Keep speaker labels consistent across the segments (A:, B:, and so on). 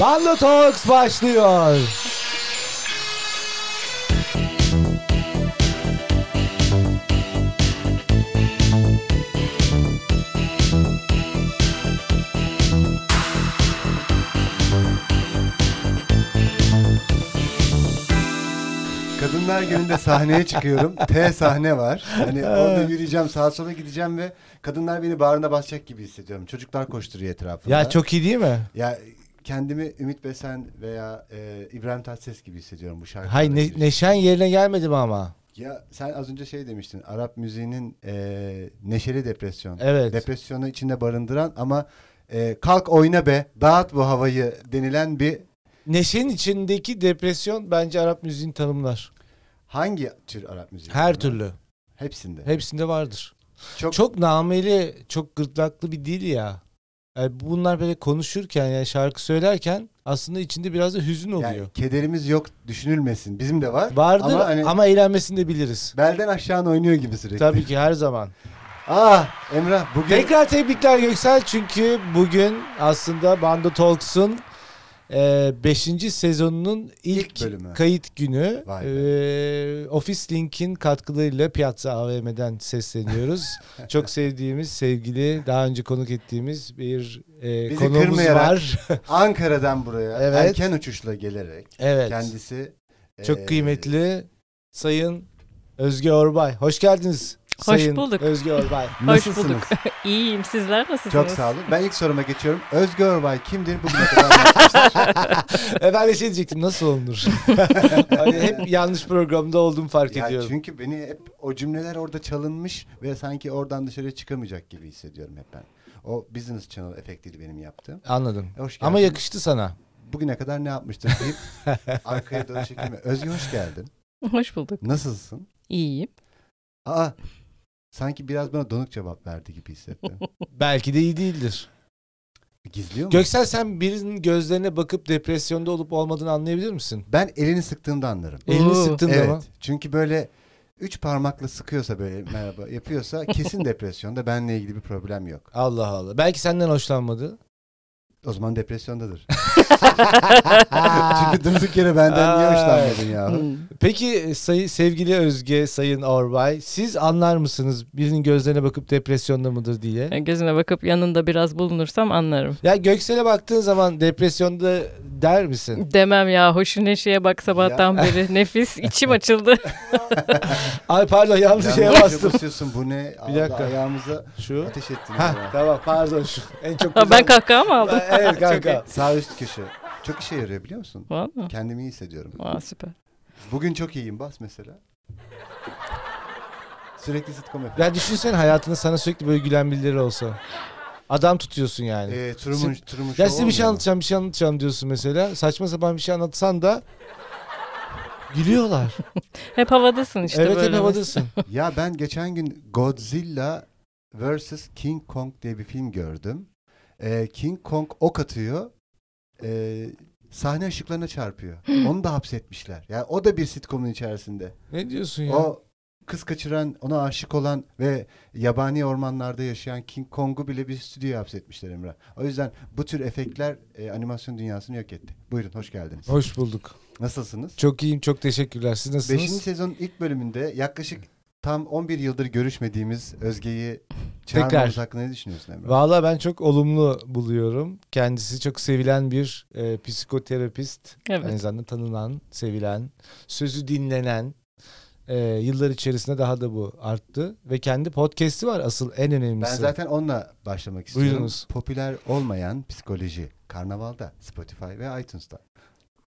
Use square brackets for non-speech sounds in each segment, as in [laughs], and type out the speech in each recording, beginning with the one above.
A: Banlı Talks başlıyor.
B: Kadınlar Günü'nde
A: [laughs]
B: sahneye çıkıyorum. T sahne var. Hani orada yürüyeceğim, sağa sola gideceğim ve kadınlar beni bağrına basacak gibi hissediyorum. Çocuklar koşturuyor etrafımda.
A: Ya çok iyi değil mi?
B: Ya kendimi Ümit Besen veya e, İbrahim Tatlıses gibi hissediyorum bu şarkıda.
A: Hay ne, neşen yerine gelmedi mi ama?
B: Ya sen az önce şey demiştin. Arap müziğinin e, neşeli depresyon.
A: Evet.
B: Depresyonu içinde barındıran ama e, kalk oyna be, dağıt bu havayı denilen bir
A: Neşenin içindeki depresyon bence Arap müziğini tanımlar.
B: hangi tür Arap müziği?
A: Her türlü.
B: Hepsinde.
A: Hepsinde vardır.
B: Çok-
A: Çok nameli, çok gırtlaklı bir dil ya. Yani bunlar böyle konuşurken yani şarkı söylerken aslında içinde biraz da hüzün oluyor.
B: Yani kederimiz yok düşünülmesin. Bizim de var.
A: Vardır ama,
B: Ama hani
A: eğlenmesini de biliriz.
B: belden aşağı oynuyor gibi sürekli.
A: Tabii ki her zaman.
B: Ah Emrah bugün
A: Tekrar tebrikler Göksel çünkü bugün aslında Bando Talks'un 5. sezonunun ilk,
B: İlk bölümü.
A: kayıt günü.
B: Vay be.
A: E, Office Link'in katkılarıyla Piazza AVM'den
B: [laughs]
A: sesleniyoruz. Çok sevdiğimiz, sevgili, daha önce konuk ettiğimiz bir e,
B: Bizi
A: konuğumuz
B: kırmayarak. [laughs]
A: var.
B: Ankara'dan buraya
A: Evet.
B: erken uçuşla gelerek
A: evet.
B: kendisi
A: Çok
B: eee,
A: kıymetli Sayın Özge Orbay. Hoş geldiniz.
C: Hoş
A: Sayın
C: bulduk.
A: Özge Orbay.
C: Hoş
B: nasılsınız?
C: bulduk. [laughs] İyiyim. Sizler nasılsınız?
B: Çok sağ olun. Ben ilk soruma geçiyorum. Özge Orbay kimdir?
A: [laughs]
B: Bugüne kadar
A: E ben de şey diyecektim nasıl olunur? [laughs] hani hep yanlış programda olduğumu fark
B: ya
A: ediyorum.
B: çünkü beni hep o cümleler orada çalınmış ve sanki oradan dışarı çıkamayacak gibi hissediyorum hep ben. O business channel efektiydi benim yaptığım.
A: Anladım.
B: E, Hoş geldin.
A: Ama yakıştı sana.
B: Bugüne kadar ne yapmıştın
A: [laughs]
B: deyip arkaya dön çekilme. Özge hoş geldin.
C: Hoş bulduk.
B: Nasılsın?
C: İyiyim.
B: Aa sanki biraz bana donuk cevap verdi
A: [laughs]
B: gibi hissettim.
A: Belki de iyi değildir.
B: Gizliyor mu?
A: Göksel sen birinin gözlerine bakıp depresyonda olup olmadığını anlayabilir misin?
B: Ben elini sıktığımda anlarım.
A: Elini
C: Oo.
A: sıktın
B: evet.
A: da mı?
B: Çünkü böyle üç parmakla sıkıyorsa böyle merhaba yapıyorsa
A: [laughs]
B: kesin depresyonda benle ilgili bir problem yok.
A: Allah Allah. Belki senden hoşlanmadı.
B: [laughs] O zaman depresyondadır. Çünkü [laughs] durduk yere benden niye
A: Ay.
B: hoşlanmadın ya?
C: Hmm.
A: Peki e, sayı, sevgili Özge, Sayın Orbay siz anlar mısınız birinin gözlerine bakıp depresyonda mıdır diye?
C: Yani Gözüne bakıp yanında biraz bulunursam anlarım.
A: Ya Göksel'e baktığın zaman depresyonda der misin?
C: [laughs] Demem ya hoşu neşeye bak sabahtan beri. Nefis. içim açıldı.
A: Ay pardon yanlış şeye
B: Yanlış
A: bastım.
B: basıyorsun şey bu ne? Bir
A: dakika.
B: Ayağımıza
A: Şu.
B: ateş ettin.
A: Ha,
B: ya.
A: tamam pardon şu. En çok
C: Ha, ben
A: güzel-
C: kahkaha mı aldım? [laughs]
A: Evet kanka.
B: Sağ üst köşe. Çok işe yarıyor biliyor musun?
C: Valla.
B: Kendimi iyi hissediyorum.
C: Aa, süper.
B: Bugün çok iyiyim bas mesela. Sürekli sitcom efendim.
A: ya düşünsene hayatında sana sürekli böyle gülen birileri olsa. Adam tutuyorsun yani.
B: Ee, turumun, turumun
A: ya
B: şovu
A: size bir şey
B: olmuyor mu?
A: anlatacağım bir şey anlatacağım diyorsun mesela. Saçma sapan bir şey anlatsan da gülüyorlar.
C: Hep havadasın işte
A: evet
C: böyle.
A: hep havadasın.
B: Ya ben geçen gün Godzilla vs. King Kong diye bir film gördüm. Ee, King Kong ok atıyor. Ee, sahne ışıklarına çarpıyor.
A: [gasps]
B: Onu da hapsetmişler. Yani o da bir sitcomun içerisinde.
A: ne diyorsun ya?
B: O kız kaçıran, ona aşık olan ve yabani ormanlarda yaşayan King Kong'u bile bir stüdyoya hapsetmişler Emrah. O yüzden bu tür efektler e, animasyon dünyasını yok etti. Buyurun hoş geldiniz.
A: Hoş bulduk.
B: Nasılsınız?
A: Çok iyiyim çok teşekkürler. Siz nasılsınız?
B: Beşinci sezonun ilk bölümünde yaklaşık tam 11 yıldır görüşmediğimiz Özge'yi
A: Tekrar.
B: çağırmamız hakkında ne düşünüyorsun Emre?
A: Valla ben çok olumlu buluyorum. Kendisi çok sevilen bir e, psikoterapist.
C: Evet.
A: Aynı zamanda tanınan, sevilen, sözü dinlenen. e, yıllar içerisinde daha da bu arttı. Ve kendi podcast'i var asıl en önemlisi.
B: ben zaten onunla başlamak istiyorum.
A: Buyurunuz.
B: Popüler olmayan psikoloji. Karnaval'da, Spotify ve iTunes'ta.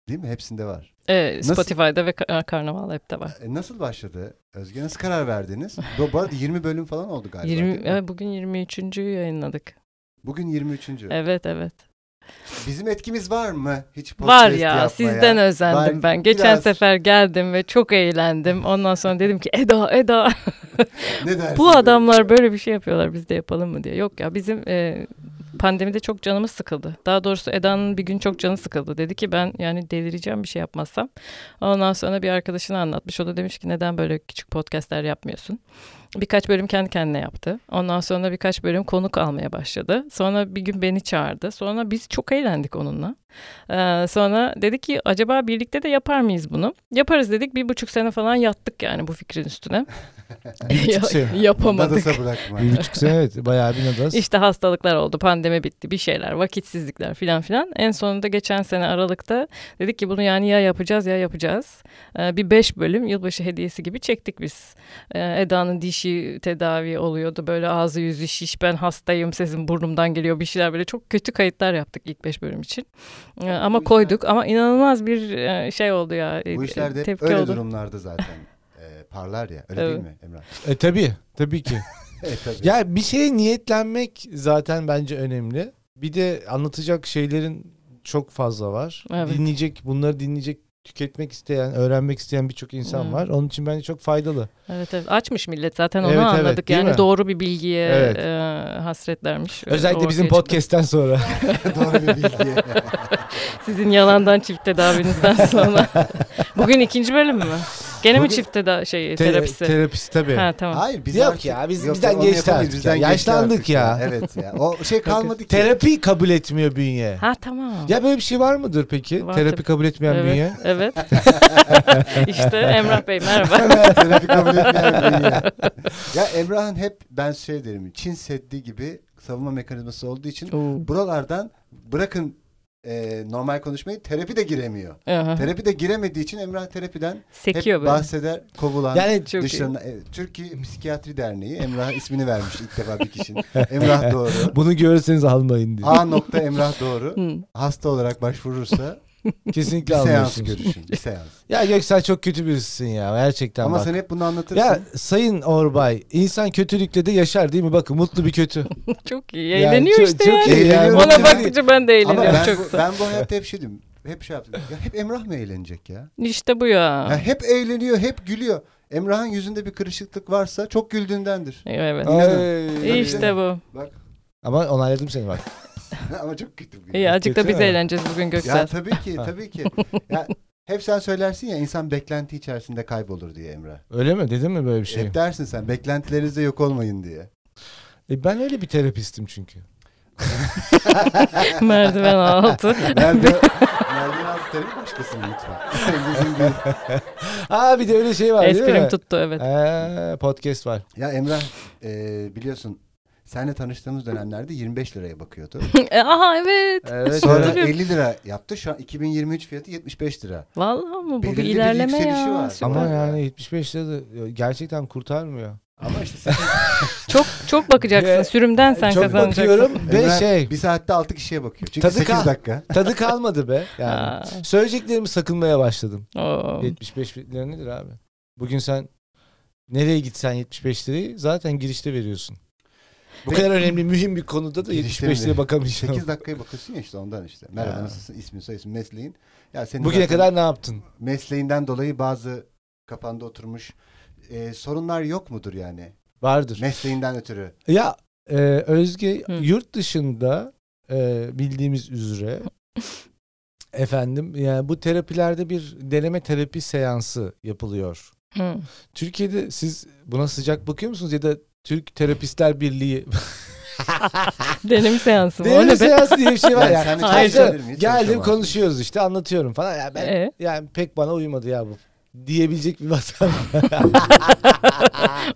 B: Değil mi? Hepsinde var.
C: Ee,
B: Nasıl-
C: Spotify'da ve Ka- Karnaval App'te var.
B: E, nasıl başladı? Özge nasıl karar verdiniz? Bu, bu arada 20 bölüm falan oldu galiba.
C: 20,
B: değil mi?
C: Evet, Ee, bugün 23. yayınladık.
B: Bugün 23.
C: Evet evet.
B: Bizim etkimiz var mı? Hiç podcast
C: Var ya
B: yapmaya?
C: sizden özendim
B: Var,
C: ben. Geçen
B: biraz-
C: sefer geldim ve çok eğlendim. Ondan sonra dedim ki Eda Eda
B: Ne dersin?
C: bu adamlar böyle bir şey yapıyorlar biz de yapalım mı diye. Yok ya bizim e, pandemide çok canımız sıkıldı. Daha doğrusu Eda'nın bir gün çok canı sıkıldı. Dedi ki ben yani delireceğim bir şey yapmazsam. Ondan sonra bir arkadaşına anlatmış. O da demiş ki neden böyle küçük podcastler yapmıyorsun? Birkaç bölüm kendi kendine yaptı. Ondan sonra birkaç bölüm konuk almaya başladı. Sonra bir gün beni çağırdı. Sonra biz çok eğlendik onunla. Ee, sonra dedik ki acaba birlikte de yapar mıyız bunu? Yaparız dedik. Bir buçuk sene falan yattık yani bu fikrin üstüne. [laughs] Ya-
A: sene.
C: Yapamadık.
B: Nadasa bırakma.
A: Bir buçuk sene evet bayağı bir nadas.
C: [laughs] İşte hastalıklar oldu, pandemi bitti, bir şeyler, vakitsizlikler filan filan. En sonunda geçen sene Aralık'ta dedik ki bunu yani ya yapacağız ya yapacağız. Ee, bir beş bölüm yılbaşı hediyesi gibi çektik biz. Ee, Eda'nın dişi tedavi oluyordu. Böyle ağzı yüzü şiş, ben hastayım, sesim burnumdan geliyor bir şeyler böyle çok kötü kayıtlar yaptık ilk beş bölüm için. Ee, ama koyduk ama inanılmaz bir e, şey oldu ya.
B: Bu
C: e,
B: işlerde hep
C: tepki
B: öyle
C: oldu.
B: durumlarda
C: [laughs]
B: zaten e, parlar ya. Öyle
C: Evet.
B: değil mi Emrah? [laughs]
A: E tabii tabii ki.
B: Evet tabii.
A: Ya bir şeye niyetlenmek zaten bence önemli. Bir de anlatacak şeylerin çok fazla var.
C: Evet.
A: Dinleyecek, bunları dinleyecek, tüketmek isteyen, öğrenmek isteyen birçok insan
C: Hmm.
A: var. Onun için bence çok faydalı.
C: Evet, evet. Açmış millet zaten onu
A: Evet, evet,
C: anladık.
A: değil
C: yani
A: mi?
C: doğru bir bilgiye
A: Evet.
C: e, hasretlermiş.
A: Özellikle
C: O
A: bizim
C: ortaya çıktı.
A: podcast'ten sonra.
B: [laughs] Doğru bir bilgi.
A: [laughs]
C: Sizin yalandan
B: [laughs]
C: çift tedavinizden sonra. Bugün ikinci bölüm mü? Gene mi çift
A: [laughs]
C: teda şey
A: Te-
C: terapisi?
A: Terapisi tabii.
C: ha tamam.
B: Hayır biz
A: Yok
B: artık-
A: ya, biz-
B: yok,
A: bizden
B: onu
A: geçti
B: yapamayız,
A: artık ya.
B: geçti
A: Yaşlandık
B: artık
A: ya.
B: Evet ya. O şey kalmadı ki. [laughs]
A: Terapi kabul etmiyor bünye.
C: Ha tamam.
A: Ya böyle bir şey var mıdır peki?
C: Var
A: Terapi
C: tabii.
A: kabul etmeyen
C: evet.
A: bünye.
B: [laughs]
C: evet. işte Emrah Bey merhaba.
B: Terapi kabul etmeyen bünye.
A: [laughs]
B: Ya Emrah'ın hep ben şey derim. Çin Seddi gibi savunma mekanizması olduğu için buralardan bırakın e, normal konuşmayı terapi de giremiyor.
C: Aha.
B: Terapi de giremediği için Emrah terapiden
C: Sekiyor
B: hep
C: böyle.
B: bahseder, kovulan.
A: Yani
C: Çok iyi.
B: Dışlarına, evet, Türkiye Psikiyatri Derneği Emrah ismini vermiş ilk defa bir kişinin. Emrah Doğru.
A: bunu görürseniz almayın diye.
B: A nokta Emrah Doğru.
C: Hı.
B: Hasta olarak
C: [laughs]
B: başvurursa bir
A: Kesinlikle
B: seans
A: almıyorsunuz.
B: görüşün. Bir seans.
A: Ya Göksel çok kötü birisin ya gerçekten
B: Ama
A: bak.
B: sen hep bunu anlatırsın.
A: Ya Sayın Orbay insan kötülükle de yaşar değil mi? Bakın mutlu bir kötü.
C: Çok iyi. Eğleniyor
A: çok-
C: işte
A: çok
C: yani.
A: iyi yani.
B: Eğleniyorum.
C: Ona
A: Mutlu-
C: bakınca ben
B: Ama
C: de eğleniyorum
B: ben,
C: çok da.
B: ben bu hayatta hep şey diyorum. Hep şey yaptım. Ya hep Emrah mı eğlenecek ya?
C: İşte bu
B: ya
C: ya.
B: hep eğleniyor, hep gülüyor. Emrah'ın yüzünde bir kırışıklık varsa çok güldüğündendir.
C: Evet.
A: Ay.
C: İşte bu.
B: Bak [laughs]
A: Ama onayladım seni bak.
B: ama çok kötü bu.
C: İyi azıcık da
A: Kötü
C: biz
A: ha.
C: eğleneceğiz bugün
B: Ya [laughs]
C: Göksel. [laughs]
B: tabii ki, tabii ki. Ya, hep sen söylersin ya insan beklenti içerisinde kaybolur diye Emrah.
A: Öyle mi? Dedim mi böyle bir şey?
B: Hep dersin sen beklentilerinizde yok
A: [laughs]
B: olmayın diye.
A: E ben öyle bir terapistim çünkü.
B: [laughs]
C: Merdiven altı.
B: Nerede? Nereden altı tabii başkasının lütfen. [laughs] Bizim değil.
A: Aa bir de öyle şey var değil
C: Esprim
A: mi?
C: tuttu evet.
A: Ee, podcast var.
B: Ya Emrah e, biliyorsun senle tanıştığımız dönemlerde 25 liraya bakıyordu.
C: E, Aha evet.
A: [laughs] Evet.
B: Sonra
A: evet.
C: hatırlıyorum.
B: 50 lira yaptı. Şu an 2023 fiyatı 75 lira.
C: Vallahi mı? Bu bir
B: Belirli bir
C: ilerleme
B: yükselişi
C: ya.
B: var.
C: Süper.
A: Ama yani 75 lira da gerçekten kurtarmıyor.
B: Ama
A: [laughs]
B: işte sen
C: Çok çok bakacaksın.
A: Ve-
C: Sürümden sen
A: Çok
C: kazanacaksın.
A: bakıyorum ve
B: Emrah
A: şey
B: bir saatte 6 kişiye bakıyor. Çünkü
A: Tadı
B: 8
A: kal- [laughs]
B: dakika.
A: tadı kalmadı [laughs] be. Yani.
C: Aa,
A: Söyleyeceklerimi sakınmaya başladım.
C: oo.
A: 75 lira nedir abi? Bugün sen nereye gitsen 75 lirayı zaten girişte veriyorsun. Bu kadar önemli mühim bir konuda da
B: Girişte
A: 75 liraya
B: mi?
A: bakamayacağım.
B: 8 dakikaya bakıyorsun ya işte ondan işte. Merhaba
A: Ya.
B: nasılsın? İsmin soyisin mesleğin. Ya senin
A: Bugüne
B: zaten
A: kadar ne yaptın?
B: mesleğinden dolayı bazı kafanda oturmuş e, sorunlar yok mudur yani?
A: Vardır.
B: Mesleğinden ötürü.
A: Ya e, Özge
C: Hı.
A: yurt dışında e, bildiğimiz
C: [laughs]
A: üzere efendim yani bu terapilerde bir deneme terapi seansı yapılıyor.
C: Hı.
A: Türkiye'de siz buna sıcak bakıyor musunuz ya da Türk Terapistler Birliği [laughs]
C: Deneme seansı mı? O
A: deneme
C: ne be?
A: seansı diye bir şey var
B: Yani
A: ya.
B: sen de
A: Hayır
B: çalışabilir
A: canım,
B: miyiz?
A: Geldim
B: Çalışamazsın.
A: konuşuyoruz işte anlatıyorum falan. Ya ben
C: E,
A: yani pek bana uymadı ya bu diyebilecek bir vatan.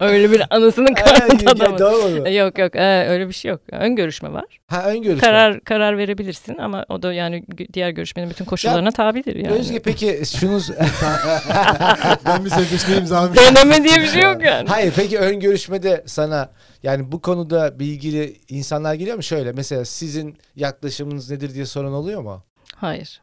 C: öyle bir anasının karnında
A: Ya, [laughs]
C: adamın.
A: Doğru mu?
C: E, Yok yok e, öyle bir şey yok. Ön görüşme var.
A: Ha ön görüşme.
C: Karar karar verebilirsin ama o da yani gü- diğer görüşmenin bütün koşullarına tabidir yani.
A: Özge peki şunu [laughs]
B: ben bir sözleşme imzalamışım.
C: Deneme diye bir şey yok yani.
A: hayır peki ön görüşmede sana yani bu konuda bilgili insanlar geliyor mu şöyle mesela sizin yaklaşımınız nedir diye soran oluyor mu?
C: Hayır.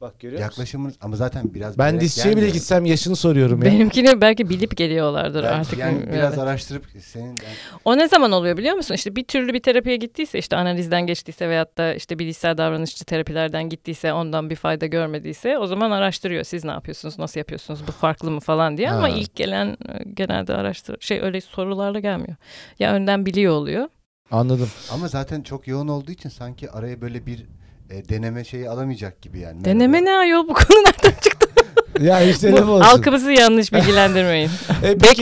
A: Bak görüyor musun?
B: Yaklaşımın ama zaten biraz
A: Ben
B: bilerek
A: dişçiye bile
B: gelmiyor.
A: gitsem yaşını soruyorum ya.
C: Benimkini belki bilip geliyorlardır
B: Belki
C: artık.
B: yani biraz
C: Evet.
B: araştırıp senin yani
C: O ne zaman oluyor biliyor musun? İşte bir türlü bir terapiye gittiyse işte analizden geçtiyse veyahut da işte bilişsel davranışçı terapilerden gittiyse ondan bir fayda görmediyse o zaman araştırıyor. Siz ne yapıyorsunuz? Nasıl yapıyorsunuz? Bu farklı mı falan diye ama
A: Ha.
C: ilk gelen e, genelde araştır şey öyle sorularla gelmiyor. Ya önden biliyor oluyor.
A: Anladım.
B: ama zaten çok yoğun olduğu için sanki araya böyle bir e, deneme şeyi alamayacak gibi yani.
C: Deneme ne ayol bu konu nereden çıktı?
A: [laughs] Ya hiç telefon olsun.
C: Halkımızı yanlış bilgilendirmeyin.
A: [laughs] E, peki-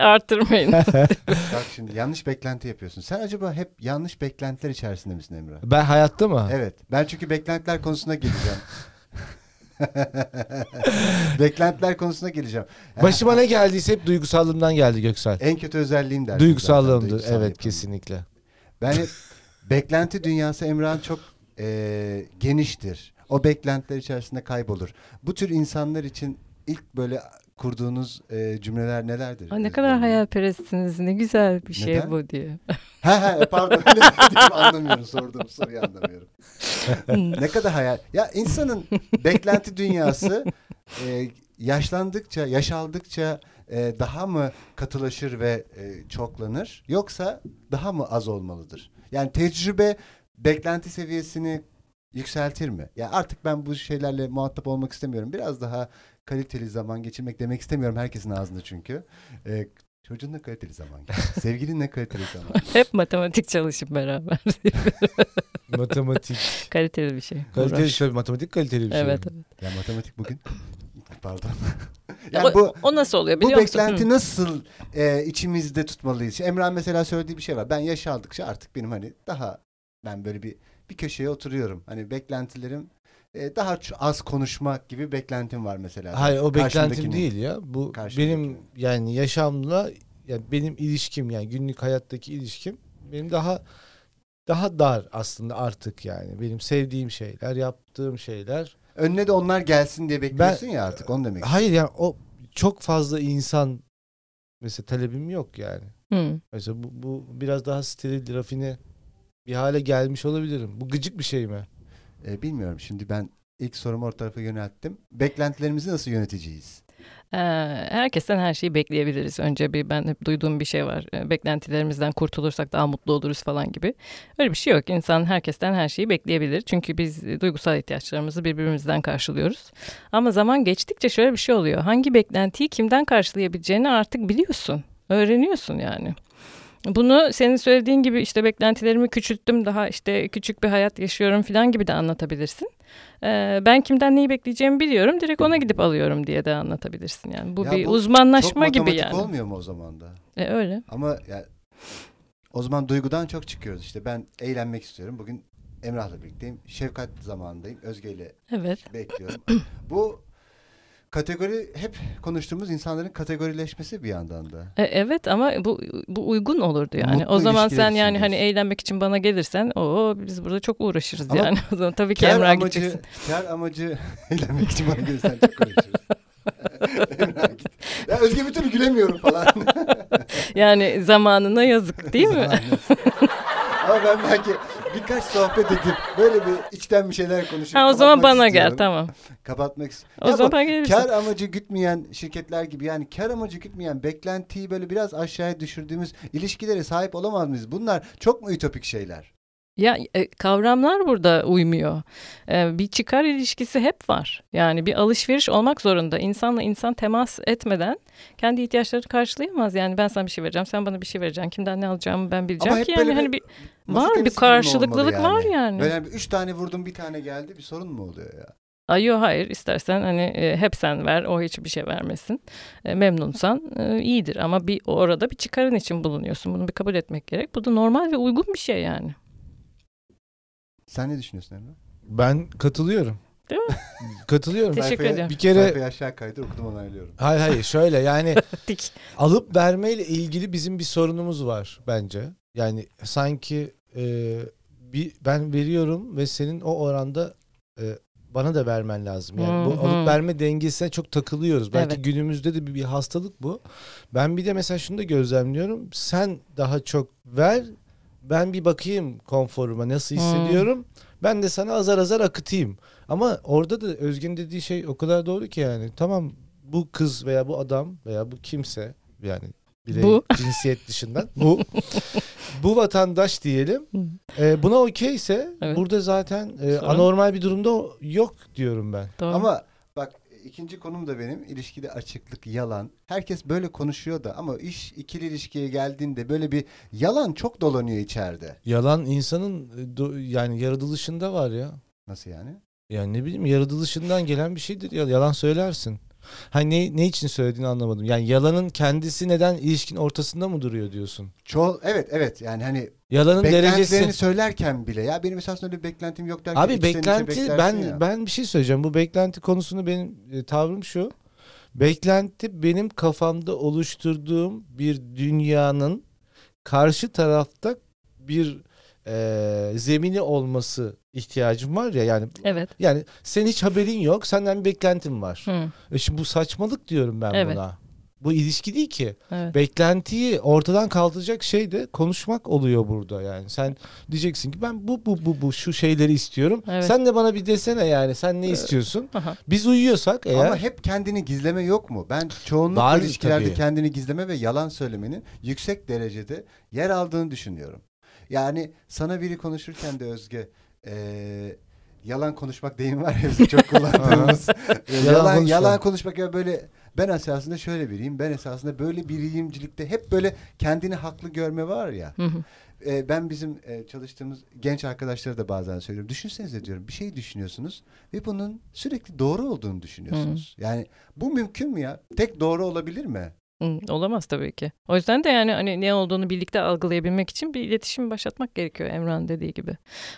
A: [laughs]
C: arttırmayın.
B: Bak şimdi yanlış beklenti yapıyorsun. Sen acaba hep yanlış beklentiler içerisinde misin Emre?
A: Ben hayatta mı?
B: Evet. Ben çünkü beklentiler konusuna geleceğim. [laughs] beklentiler konusuna geleceğim.
A: Başıma ne geldiyse hep duygusallığımdan geldi Göksel.
B: En kötü özelliğim dersin.
A: Duygusallığımdır.
B: zaten, duygusal
A: evet [laughs]
B: yapım.
A: kesinlikle.
B: Ben hep beklenti dünyası Emrah'ın çok eee, geniştir. O beklentiler içerisinde kaybolur. Bu tür insanlar için ilk böyle kurduğunuz eee, cümleler nelerdir?
C: Aa, ne kadar hayalperestsiniz ne güzel bir şey
B: Neden?
C: bu diye.
B: [laughs] Ha ha e, pardon öyle dedim, anlamıyorum sorduğum soruyu anlamıyorum. ne kadar hayal. Ya insanın beklenti dünyası e, yaşlandıkça, yaşaldıkça e, daha mı katılaşır ve e, çoklanır yoksa daha mı az olmalıdır? Yani tecrübe beklenti seviyesini yükseltir mi? Ya artık ben bu şeylerle muhatap olmak istemiyorum. Biraz daha kaliteli zaman geçirmek demek istemiyorum herkesin ağzında çünkü. E, çocuğunla kaliteli zaman geçir. Sevgilinle kaliteli zaman
C: Hep matematik çalışıp beraber. [laughs]
A: Matematik.
C: Kaliteli bir şey.
A: kaliteli
C: Uğraş.
A: tabii matematik kaliteli bir şey.
C: Evet.
B: Ya matematik bugün. [coughs] Pardon.
C: evet.
B: [laughs] yani bu
C: o, o nasıl oluyor
B: bu
C: biliyor musun?
B: beklenti
C: Hı.
B: nasıl e, içimizde tutmalıyız? Emrah mesela söylediği bir şey var. Ben yaş aldıkça artık benim hani daha ben böyle bir bir köşeye oturuyorum. Hani beklentilerim e, daha ç- az konuşmak gibi beklentim var mesela.
A: Hayır o beklentim
B: Karşımdakinin.
A: değil ya. Bu
B: Karşımdakinin.
A: benim yani yaşamla yani benim ilişkim yani günlük hayattaki ilişkim benim daha daha dar aslında artık yani. Benim sevdiğim şeyler, yaptığım şeyler.
B: Önüne de onlar gelsin diye bekliyorsun ya artık onu demek.
A: Hayır yani o çok fazla insan mesela talebim yok yani.
C: Hı.
A: Mesela bu, bu biraz daha steril, rafine bir hale gelmiş olabilirim. Bu gıcık bir şey mi?
B: E, bilmiyorum şimdi ben ilk sorumu o tarafa yönelttim. Beklentilerimizi nasıl yöneteceğiz?
C: Ee, herkesten her şeyi bekleyebiliriz. Önce bir ben hep duyduğum bir şey var. Ee, Beklentilerimizden kurtulursak daha mutlu oluruz falan gibi. Öyle bir şey yok. İnsan herkesten her şeyi bekleyebilir. Çünkü biz e, duygusal ihtiyaçlarımızı birbirimizden karşılıyoruz. Ama zaman geçtikçe şöyle bir şey oluyor. Hangi beklentiyi kimden karşılayabileceğini artık biliyorsun. Öğreniyorsun yani. Bunu senin söylediğin gibi işte beklentilerimi küçülttüm daha işte küçük bir hayat yaşıyorum falan gibi de anlatabilirsin. Ee, ben kimden neyi bekleyeceğimi biliyorum direkt ona gidip alıyorum diye de anlatabilirsin yani. Bu
B: Ya
C: bir
B: bu
C: uzmanlaşma
B: Çok
C: gibi
B: matematik
C: yani.
B: olmuyor mu o zaman da?
C: E, öyle.
B: Ama ya, o zaman duygudan çok çıkıyoruz işte. Ben eğlenmek istiyorum. Bugün Emrah'la birlikteyim. Şefkat zamanındayım. Özge'yle
C: Evet.
B: bekliyorum. Bu kategori hep konuştuğumuz insanların kategorileşmesi bir yandan da.
C: E, evet ama bu bu uygun olurdu yani.
B: Mutlu
C: o zaman
B: ilişkiler
C: sen
B: için
C: yani hani
B: diyorsun.
C: eğlenmek için bana gelirsen o biz burada çok uğraşırız
B: Ama
C: yani. [laughs] O zaman tabii ki
B: Kar
C: Emrah'a
B: amacı,
C: gideceksin.
B: kar amacı [laughs] eğlenmek için bana gelirsen çok konuşuruz. [laughs] Emrah git. Ya Özge bir türlü gülemiyorum falan. [laughs]
C: Yani zamanına yazık değil mi?
B: Ama ben belki birkaç sohbet edip böyle bir içten bir şeyler konuşup
C: ha, o zaman
B: kapatmak
C: bana gel
B: istiyorum.
C: tamam.
B: Kapatmak istiyorum.
C: O zaman bana gelirsin.
B: Kar amacı gütmeyen şirketler gibi yani kar amacı gütmeyen beklentiyi böyle biraz aşağıya düşürdüğümüz ilişkilere sahip olamaz mıyız? Bunlar çok mu ütopik şeyler?
C: Ya e, kavramlar burada uymuyor. E, bir çıkar ilişkisi hep var. Yani bir alışveriş olmak zorunda. İnsanla insan temas etmeden kendi ihtiyaçlarını karşılayamaz. Yani ben sana bir şey vereceğim, sen bana bir şey vereceksin. Kimden ne alacağımı ben bileceğim
B: hep
C: ki
B: böyle
C: yani hani
B: bir
C: bir
B: Masa
C: var
B: tenisi
C: bir
B: gibi mi olmalı
C: karşılıklılık
B: yani?
C: var yani.
B: Böyle hani bir üç tane vurdum bir tane geldi bir sorun mu oluyor ya?
C: Ay yo hayır istersen hani e, hep sen ver o hiçbir şey vermesin. E, memnunsan e, iyidir ama bir orada bir çıkarın için bulunuyorsun. Bunu bir kabul etmek gerek. Bu da normal ve uygun bir şey yani.
B: Sen ne düşünüyorsun Emre?
A: Ben katılıyorum.
C: Değil mi?
A: Katılıyorum.
C: Teşekkür
B: Sayfaya-
C: ederim.
A: Bir kere
B: Sayfayı aşağı kaydır okudum onaylıyorum.
A: hayır hayır şöyle yani
C: Dik.
A: alıp vermeyle ilgili bizim bir sorunumuz var bence. Yani sanki e, bir ben veriyorum ve senin o oranda e, bana da vermen lazım. Yani
C: Hı
A: bu
C: hı.
A: alıp verme dengesine çok takılıyoruz. Belki
C: Evet.
A: günümüzde de bir, bir hastalık bu. Ben bir de mesela şunu da gözlemliyorum. Sen daha çok ver. Ben bir bakayım konforuma nasıl
C: Hmm.
A: hissediyorum. Ben de sana azar azar akıtayım. Ama orada da Özgün dediği şey o kadar doğru ki yani. Tamam bu kız veya bu adam veya bu kimse yani birey,
C: Bu.
A: [laughs] cinsiyet dışından bu bu vatandaş diyelim.
C: Hı.
A: E, buna okeyse
C: Evet.
A: burada zaten e,
C: Sorun.
A: anormal bir durumda o- yok diyorum ben.
C: Doğru.
B: Ama bak ikinci konum da benim ilişkide açıklık yalan. Herkes böyle konuşuyor da ama iş ikili ilişkiye geldiğinde böyle bir yalan çok dolanıyor içeride.
A: Yalan insanın e, do- yani yaratılışında var ya.
B: Nasıl yani?
A: Yani ne bileyim yaratılışından gelen bir şeydir ya yalan söylersin. Hani ne, ne için söylediğini anlamadım. Yani yalanın kendisi neden ilişkin ortasında mı duruyor diyorsun?
B: Ço evet evet yani hani
A: Yalanın
B: beklentilerini
A: derecesi.
B: söylerken bile ya benim esasında öyle bir beklentim yok derken
A: Abi
B: içten içe
A: beklenti
B: beklersin
A: ben
B: ya.
A: ben bir şey söyleyeceğim. Bu beklenti konusunu benim e, tavrım şu. Beklenti benim kafamda oluşturduğum bir dünyanın karşı tarafta bir e, zemini olması ihtiyacım var ya yani
C: Evet.
A: yani senin hiç haberin yok senden bir beklentin var.
C: Hı,
A: E şimdi bu saçmalık diyorum ben
C: Evet.
A: buna. Bu ilişki değil ki. [laughs]
C: evet.
A: Beklentiyi ortadan kaldıracak şey de konuşmak oluyor burada yani. Sen diyeceksin ki ben bu bu bu bu şu şeyleri istiyorum.
C: Evet.
A: Sen de bana bir desene yani sen ne
C: Ee,
A: istiyorsun?
C: Aha.
A: Biz uyuyorsak eğer
B: Ama hep kendini gizleme yok mu? Ben çoğunlukla
A: Var
B: ilişkilerde
A: tabii.
B: kendini gizleme ve yalan söylemenin yüksek derecede yer aldığını düşünüyorum. Yani sana biri konuşurken de Özge eee, yalan konuşmak deyim var ya
A: [laughs]
B: bizim çok kullandığımız. yalan,
A: Yalan
B: Ee, yalan,
A: konuşmak.
B: konuşmak ya böyle ben esasında şöyle biriyim ben esasında böyle biriyimcilikte hep böyle kendini haklı görme var ya.
C: Hı hı.
B: E, ben bizim e, çalıştığımız genç arkadaşlara da bazen söylüyorum. Düşünsenize diyorum bir şey düşünüyorsunuz ve bunun sürekli doğru olduğunu düşünüyorsunuz. Yani bu mümkün mü ya? Tek doğru olabilir mi?
C: Hı, Olamaz tabii ki. O yüzden de yani hani ne olduğunu birlikte algılayabilmek için bir iletişim başlatmak gerekiyor Emrah'ın dediği gibi.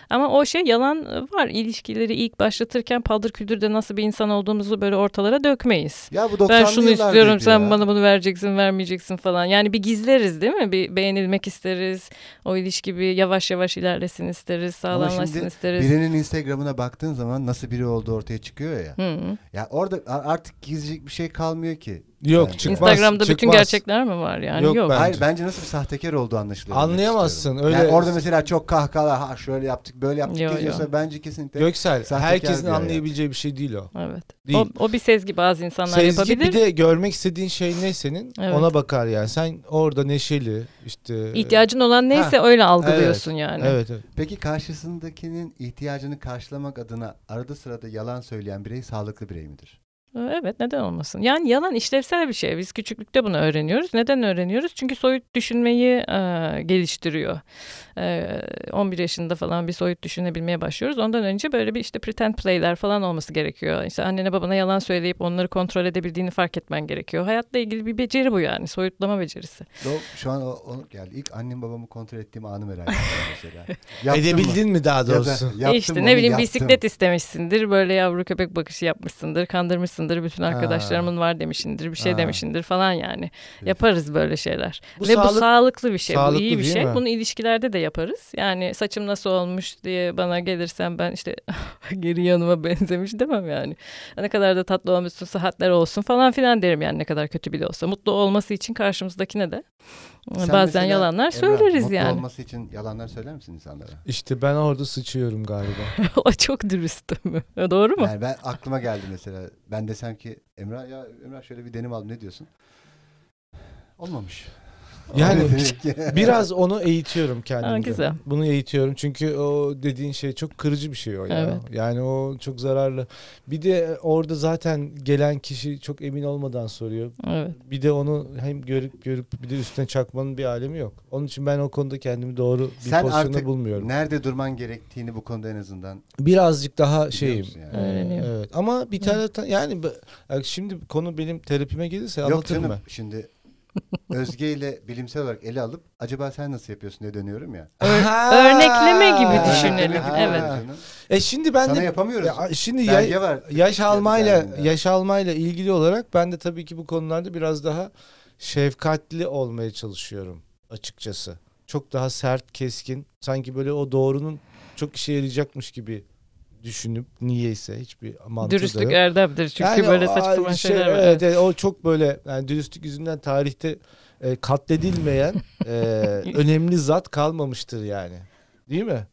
C: Ama o şey yalan e, var. İlişkileri ilk başlatırken paldır küldür de nasıl bir insan olduğumuzu böyle ortalara dökmeyiz.
B: Ya bu 90'lı
C: Ben şunu
B: yıllardaydı
C: istiyorum sen
B: ya.
C: bana bunu vereceksin vermeyeceksin falan. Yani bir gizleriz değil mi? Bir beğenilmek isteriz. O ilişki bir yavaş yavaş ilerlesin isteriz.
B: Ama
C: Sağlamlaşsın
B: şimdi
C: isteriz.
B: Birinin Instagram'ına baktığın zaman nasıl biri olduğu ortaya çıkıyor ya.
C: Hı hı.
B: Ya orada a- artık gizleyecek bir şey kalmıyor ki.
A: yok
B: Yani.
A: çıkmaz.
C: Instagram'da bütün
A: çıkmaz.
C: gerçekler mi var yani?
A: Yok,
C: Yok.
A: ben- Bence.
B: Hayır bence nasıl bir sahtekar olduğu anlaşılıyor. demek
A: Anlayamazsın,
B: istiyorum. Yani
A: öyle-
B: orada mesela çok kahkahalar ha şöyle yaptık böyle yaptık
C: Yo, yo.
B: yazıyorsa bence kesinlikle
A: Göksel
B: Sahtekar
A: herkesin
B: diyor yani.
A: anlayabileceği bir şey değil o.
C: Evet.
A: Değil.
C: O, o bir sezgi bazı insanlar
A: Sezgi
C: yapabilir.
A: bir de görmek istediğin şey ne senin
C: Evet.
A: ona bakar yani. Sen orada neşeli işte. e,
C: İhtiyacın olan neyse öyle algılıyorsun yani.
A: Evet evet.
B: Peki karşısındakinin ihtiyacını karşılamak adına arada sırada yalan söyleyen birey sağlıklı birey midir?
C: Ee, Evet neden olmasın? Yani yalan işlevsel bir şey. Biz küçüklükte bunu öğreniyoruz. Neden öğreniyoruz? Çünkü soyut düşünmeyi e, geliştiriyor. E, 11 yaşında falan bir soyut düşünebilmeye başlıyoruz. Ondan önce böyle bir işte pretend play'ler falan olması gerekiyor. İşte annene babana yalan söyleyip onları kontrol edebildiğini fark etmen gerekiyor. Hayatla ilgili bir beceri bu yani. Soyutlama becerisi.
B: Yok şu an o, o geldi. İlk annem babamı kontrol ettiğim anı
A: [laughs]
B: merak ettim mesela. Yaptım
A: Edebildin mi daha
B: mı? Ya da
A: doğrusu?
B: yaptım
C: işte
B: mı?
C: ne bileyim
B: Yaptım.
C: bisiklet istemişsindir. Böyle yavru köpek bakışı yapmışsındır. Kandırmışsındır. Bütün
A: Ha.
C: arkadaşlarımın var demişindir. Bir şey
A: Ha.
C: demişindir falan yani. Yaparız böyle şeyler.
A: Bu
C: Ve bu
A: sağlık-
C: sağlıklı bir şey.
A: sağlıklı
C: bu iyi bir
A: değil
C: şey.
A: mi?
C: Bunu ilişkilerde de yaparız. Yani saçım nasıl olmuş diye bana gelirsen ben işte [laughs] geri yanıma benzemiş demem yani. Ne kadar da tatlı olmuşsun, sıhhatler olsun falan filan derim yani ne kadar kötü bile olsa. Mutlu olması için karşımızdakine de
B: Sen
C: bazen
B: mesela,
C: yalanlar
B: Emrah,
C: söyleriz
B: mutlu
C: yani.
B: olması için yalanlar söyler misin insanlara?
A: İşte ben orada sıçıyorum galiba.
C: [laughs] o çok dürüstüm. [laughs] Doğru mu?
B: Yani ben aklıma geldi mesela. Ben desem ki Emrah ya Emrah şöyle bir denim aldım ne diyorsun? Olmamış.
A: Yani
B: Olmamış ki.
A: Biraz onu eğitiyorum kendimde.
C: Ha, güzel.
A: Bunu eğitiyorum çünkü o dediğin şey çok kırıcı bir şey o ya.
C: Evet.
A: Yani o çok zararlı. Bir de orada zaten gelen kişi çok emin olmadan soruyor.
C: Evet.
A: Bir de onu hem görüp görüp bir de üstüne çakmanın bir alemi yok. Onun için ben o konuda kendimi doğru bir
B: Sen
A: pozisyonda
B: artık
A: bulmuyorum.
B: Nerede durman gerektiğini bu konuda en azından
A: Birazcık daha
B: biliyor
A: şeyim.
B: musun yani?
A: Ee,
C: Öğreniyorum.
A: Evet. Ama bir taraftan yani bu- ya şimdi konu benim terapime gelirse
B: Yok
A: anlatırım
B: canım
A: ben.
B: şimdi Özge ile bilimsel olarak ele alıp acaba sen nasıl yapıyorsun diye dönüyorum ya.
A: Ha!
C: örnekleme gibi
A: Ha!
C: düşünelim,
B: Ha,
C: evet.
B: canım.
A: E şimdi ben
B: Sana
A: de
B: yapamıyoruz.
A: Ya, şimdi ya-
B: Belge var.
A: yaş almayla
B: Yani.
A: yaş almayla ilgili olarak ben de tabii ki bu konularda biraz daha şefkatli olmaya çalışıyorum açıkçası. Çok daha sert, keskin. Sanki böyle o doğrunun çok işe yarayacakmış gibi düşünüp niyeyse hiçbir mantığı da
C: Dürüstlük
A: yok.
C: erdemdir. Çünkü
A: Yani
C: böyle
A: o-
C: saçma sapan
A: şey,
C: şeyler var.
A: evet, evet, o çok böyle yani dürüstlük yüzünden tarihte e, katledilmeyen
C: [laughs]
A: e, önemli zat kalmamıştır yani. Değil mi?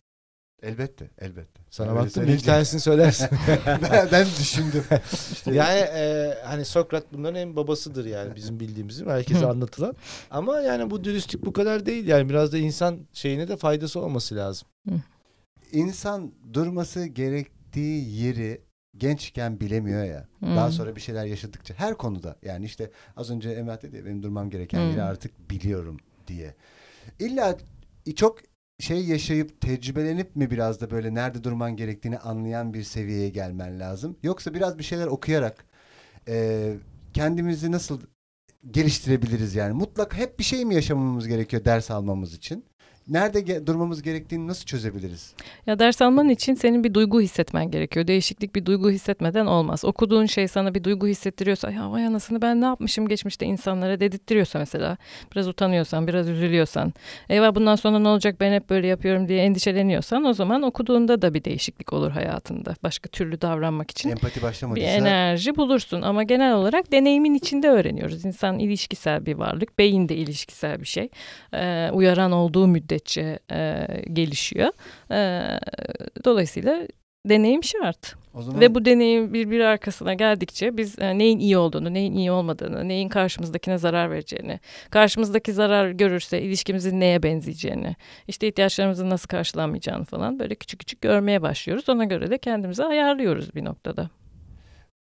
B: Elbette,
A: [laughs]
B: elbette.
A: Sana
B: Öyle
A: baktım bir
B: söyleyince-
A: tanesini
B: [laughs]
A: söylersin.
B: ben, ben düşündüm. İşte
A: Yani e, hani Sokrat bunların en babasıdır yani bizim bildiğimiz değil mi? herkese
C: Hı.
A: anlatılan. Ama yani bu dürüstlük bu kadar değil yani biraz da insan şeyine de faydası olması lazım.
B: insan durması gerektiği yeri gençken bilemiyor ya.
C: Hmm.
B: Daha sonra bir şeyler yaşadıkça her konuda yani işte az önce Emrah dedi ya benim durmam gereken
C: Hmm.
B: yeri artık biliyorum diye. İlla çok şey yaşayıp tecrübelenip mi biraz da böyle nerede durman gerektiğini anlayan bir seviyeye gelmen lazım? Yoksa biraz bir şeyler okuyarak e, kendimizi nasıl geliştirebiliriz yani? Mutlak hep bir şey mi yaşamamız gerekiyor ders almamız için? Nerede ge- durmamız gerektiğini nasıl çözebiliriz?
C: Ya ders alman için senin bir duygu hissetmen gerekiyor. Değişiklik bir duygu hissetmeden olmaz. Okuduğun şey sana bir duygu hissettiriyorsa ya vay anasını ben ne yapmışım geçmişte insanlara dedirtiyorsa mesela. Biraz utanıyorsan, biraz üzülüyorsan. Eyvah bundan sonra ne olacak ben hep böyle yapıyorum diye endişeleniyorsan o zaman okuduğunda da bir değişiklik olur hayatında. Başka türlü davranmak için
B: Empati
C: bir
B: başlamadıysa
C: enerji bulursun ama genel olarak deneyimin içinde öğreniyoruz. İnsan ilişkisel bir varlık, beyin de ilişkisel bir şey. Ee, uyaran olduğu müddetçe e, gelişiyor. Ee, dolayısıyla deneyim şart.
B: o zaman
C: Ve bu deneyim birbiri arkasına geldikçe biz e, neyin iyi olduğunu, neyin iyi olmadığını, neyin karşımızdakine zarar vereceğini, karşımızdaki zarar görürse ilişkimizin neye benzeyeceğini, işte ihtiyaçlarımızın nasıl karşılanmayacağını falan böyle küçük küçük görmeye başlıyoruz. Ona göre de kendimizi ayarlıyoruz bir noktada.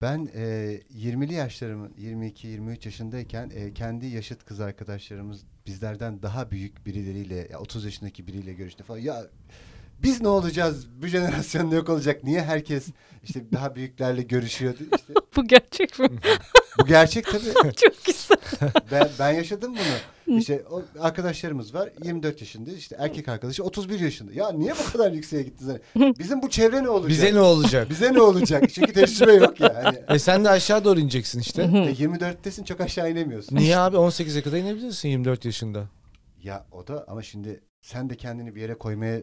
B: Ben e, 20'li yaşlarımın 22-23 yaşındayken e, kendi yaşıt kız arkadaşlarımız bizlerden daha büyük birileriyle ya 30 yaşındaki biriyle görüştü falan. Ya biz ne olacağız? Bu jenerasyon yok olacak. Niye herkes işte daha büyüklerle görüşüyordu? İşte,
C: Bu
A: [laughs]
C: gerçek mi?
B: bu gerçek
C: [laughs]
B: tabii.
C: Çok güzel.
B: Ben, ben yaşadım bunu. İşte o arkadaşlarımız var 24 yaşında. işte erkek arkadaşı 31 yaşında. Ya niye bu kadar yükseğe gittiniz? Hani Bizim bu çevre ne olacak?
A: Bize ne olacak?
B: Bize ne olacak? Çünkü tecrübe yok yani. Hani
A: e sen de aşağı doğru ineceksin işte.
B: E, 24'tesin çok aşağı inemiyorsun.
A: Niye abi 18'e kadar inebilirsin 24 yaşında.
B: Ya o da ama şimdi sen de kendini bir yere koymaya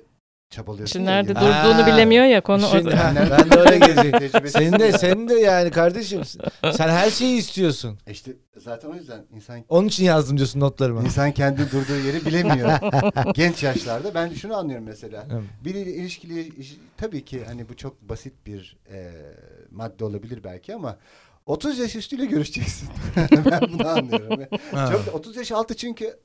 B: çabalıyorsun.
C: Şimdi
B: ya
C: nerede
B: yine.
A: dur-
C: durduğunu
A: Ha, şey
C: bilemiyor ya konu
A: İşin-
C: orada.
A: Ha,
B: Nerede
A: ben de oraya
B: [laughs] durduğunu
A: gelecektim.
B: tecrübesi
A: Senin de
B: yok.
A: senin de yani kardeşim sen her şeyi istiyorsun.
B: E İşte zaten o yüzden insan
A: Onun için yazdım diyorsun notlarıma.
B: insan kendi durduğu
A: [laughs]
B: yeri bilemiyor. Genç yaşlarda ben şunu anlıyorum mesela. Bir il- ilişkili iş- tabii ki hani bu çok basit bir e, madde olabilir belki ama 30 yaş üstüyle görüşeceksin. [laughs] ben bunu anlıyorum.
A: Ha.
B: Çok 30 yaş altı çünkü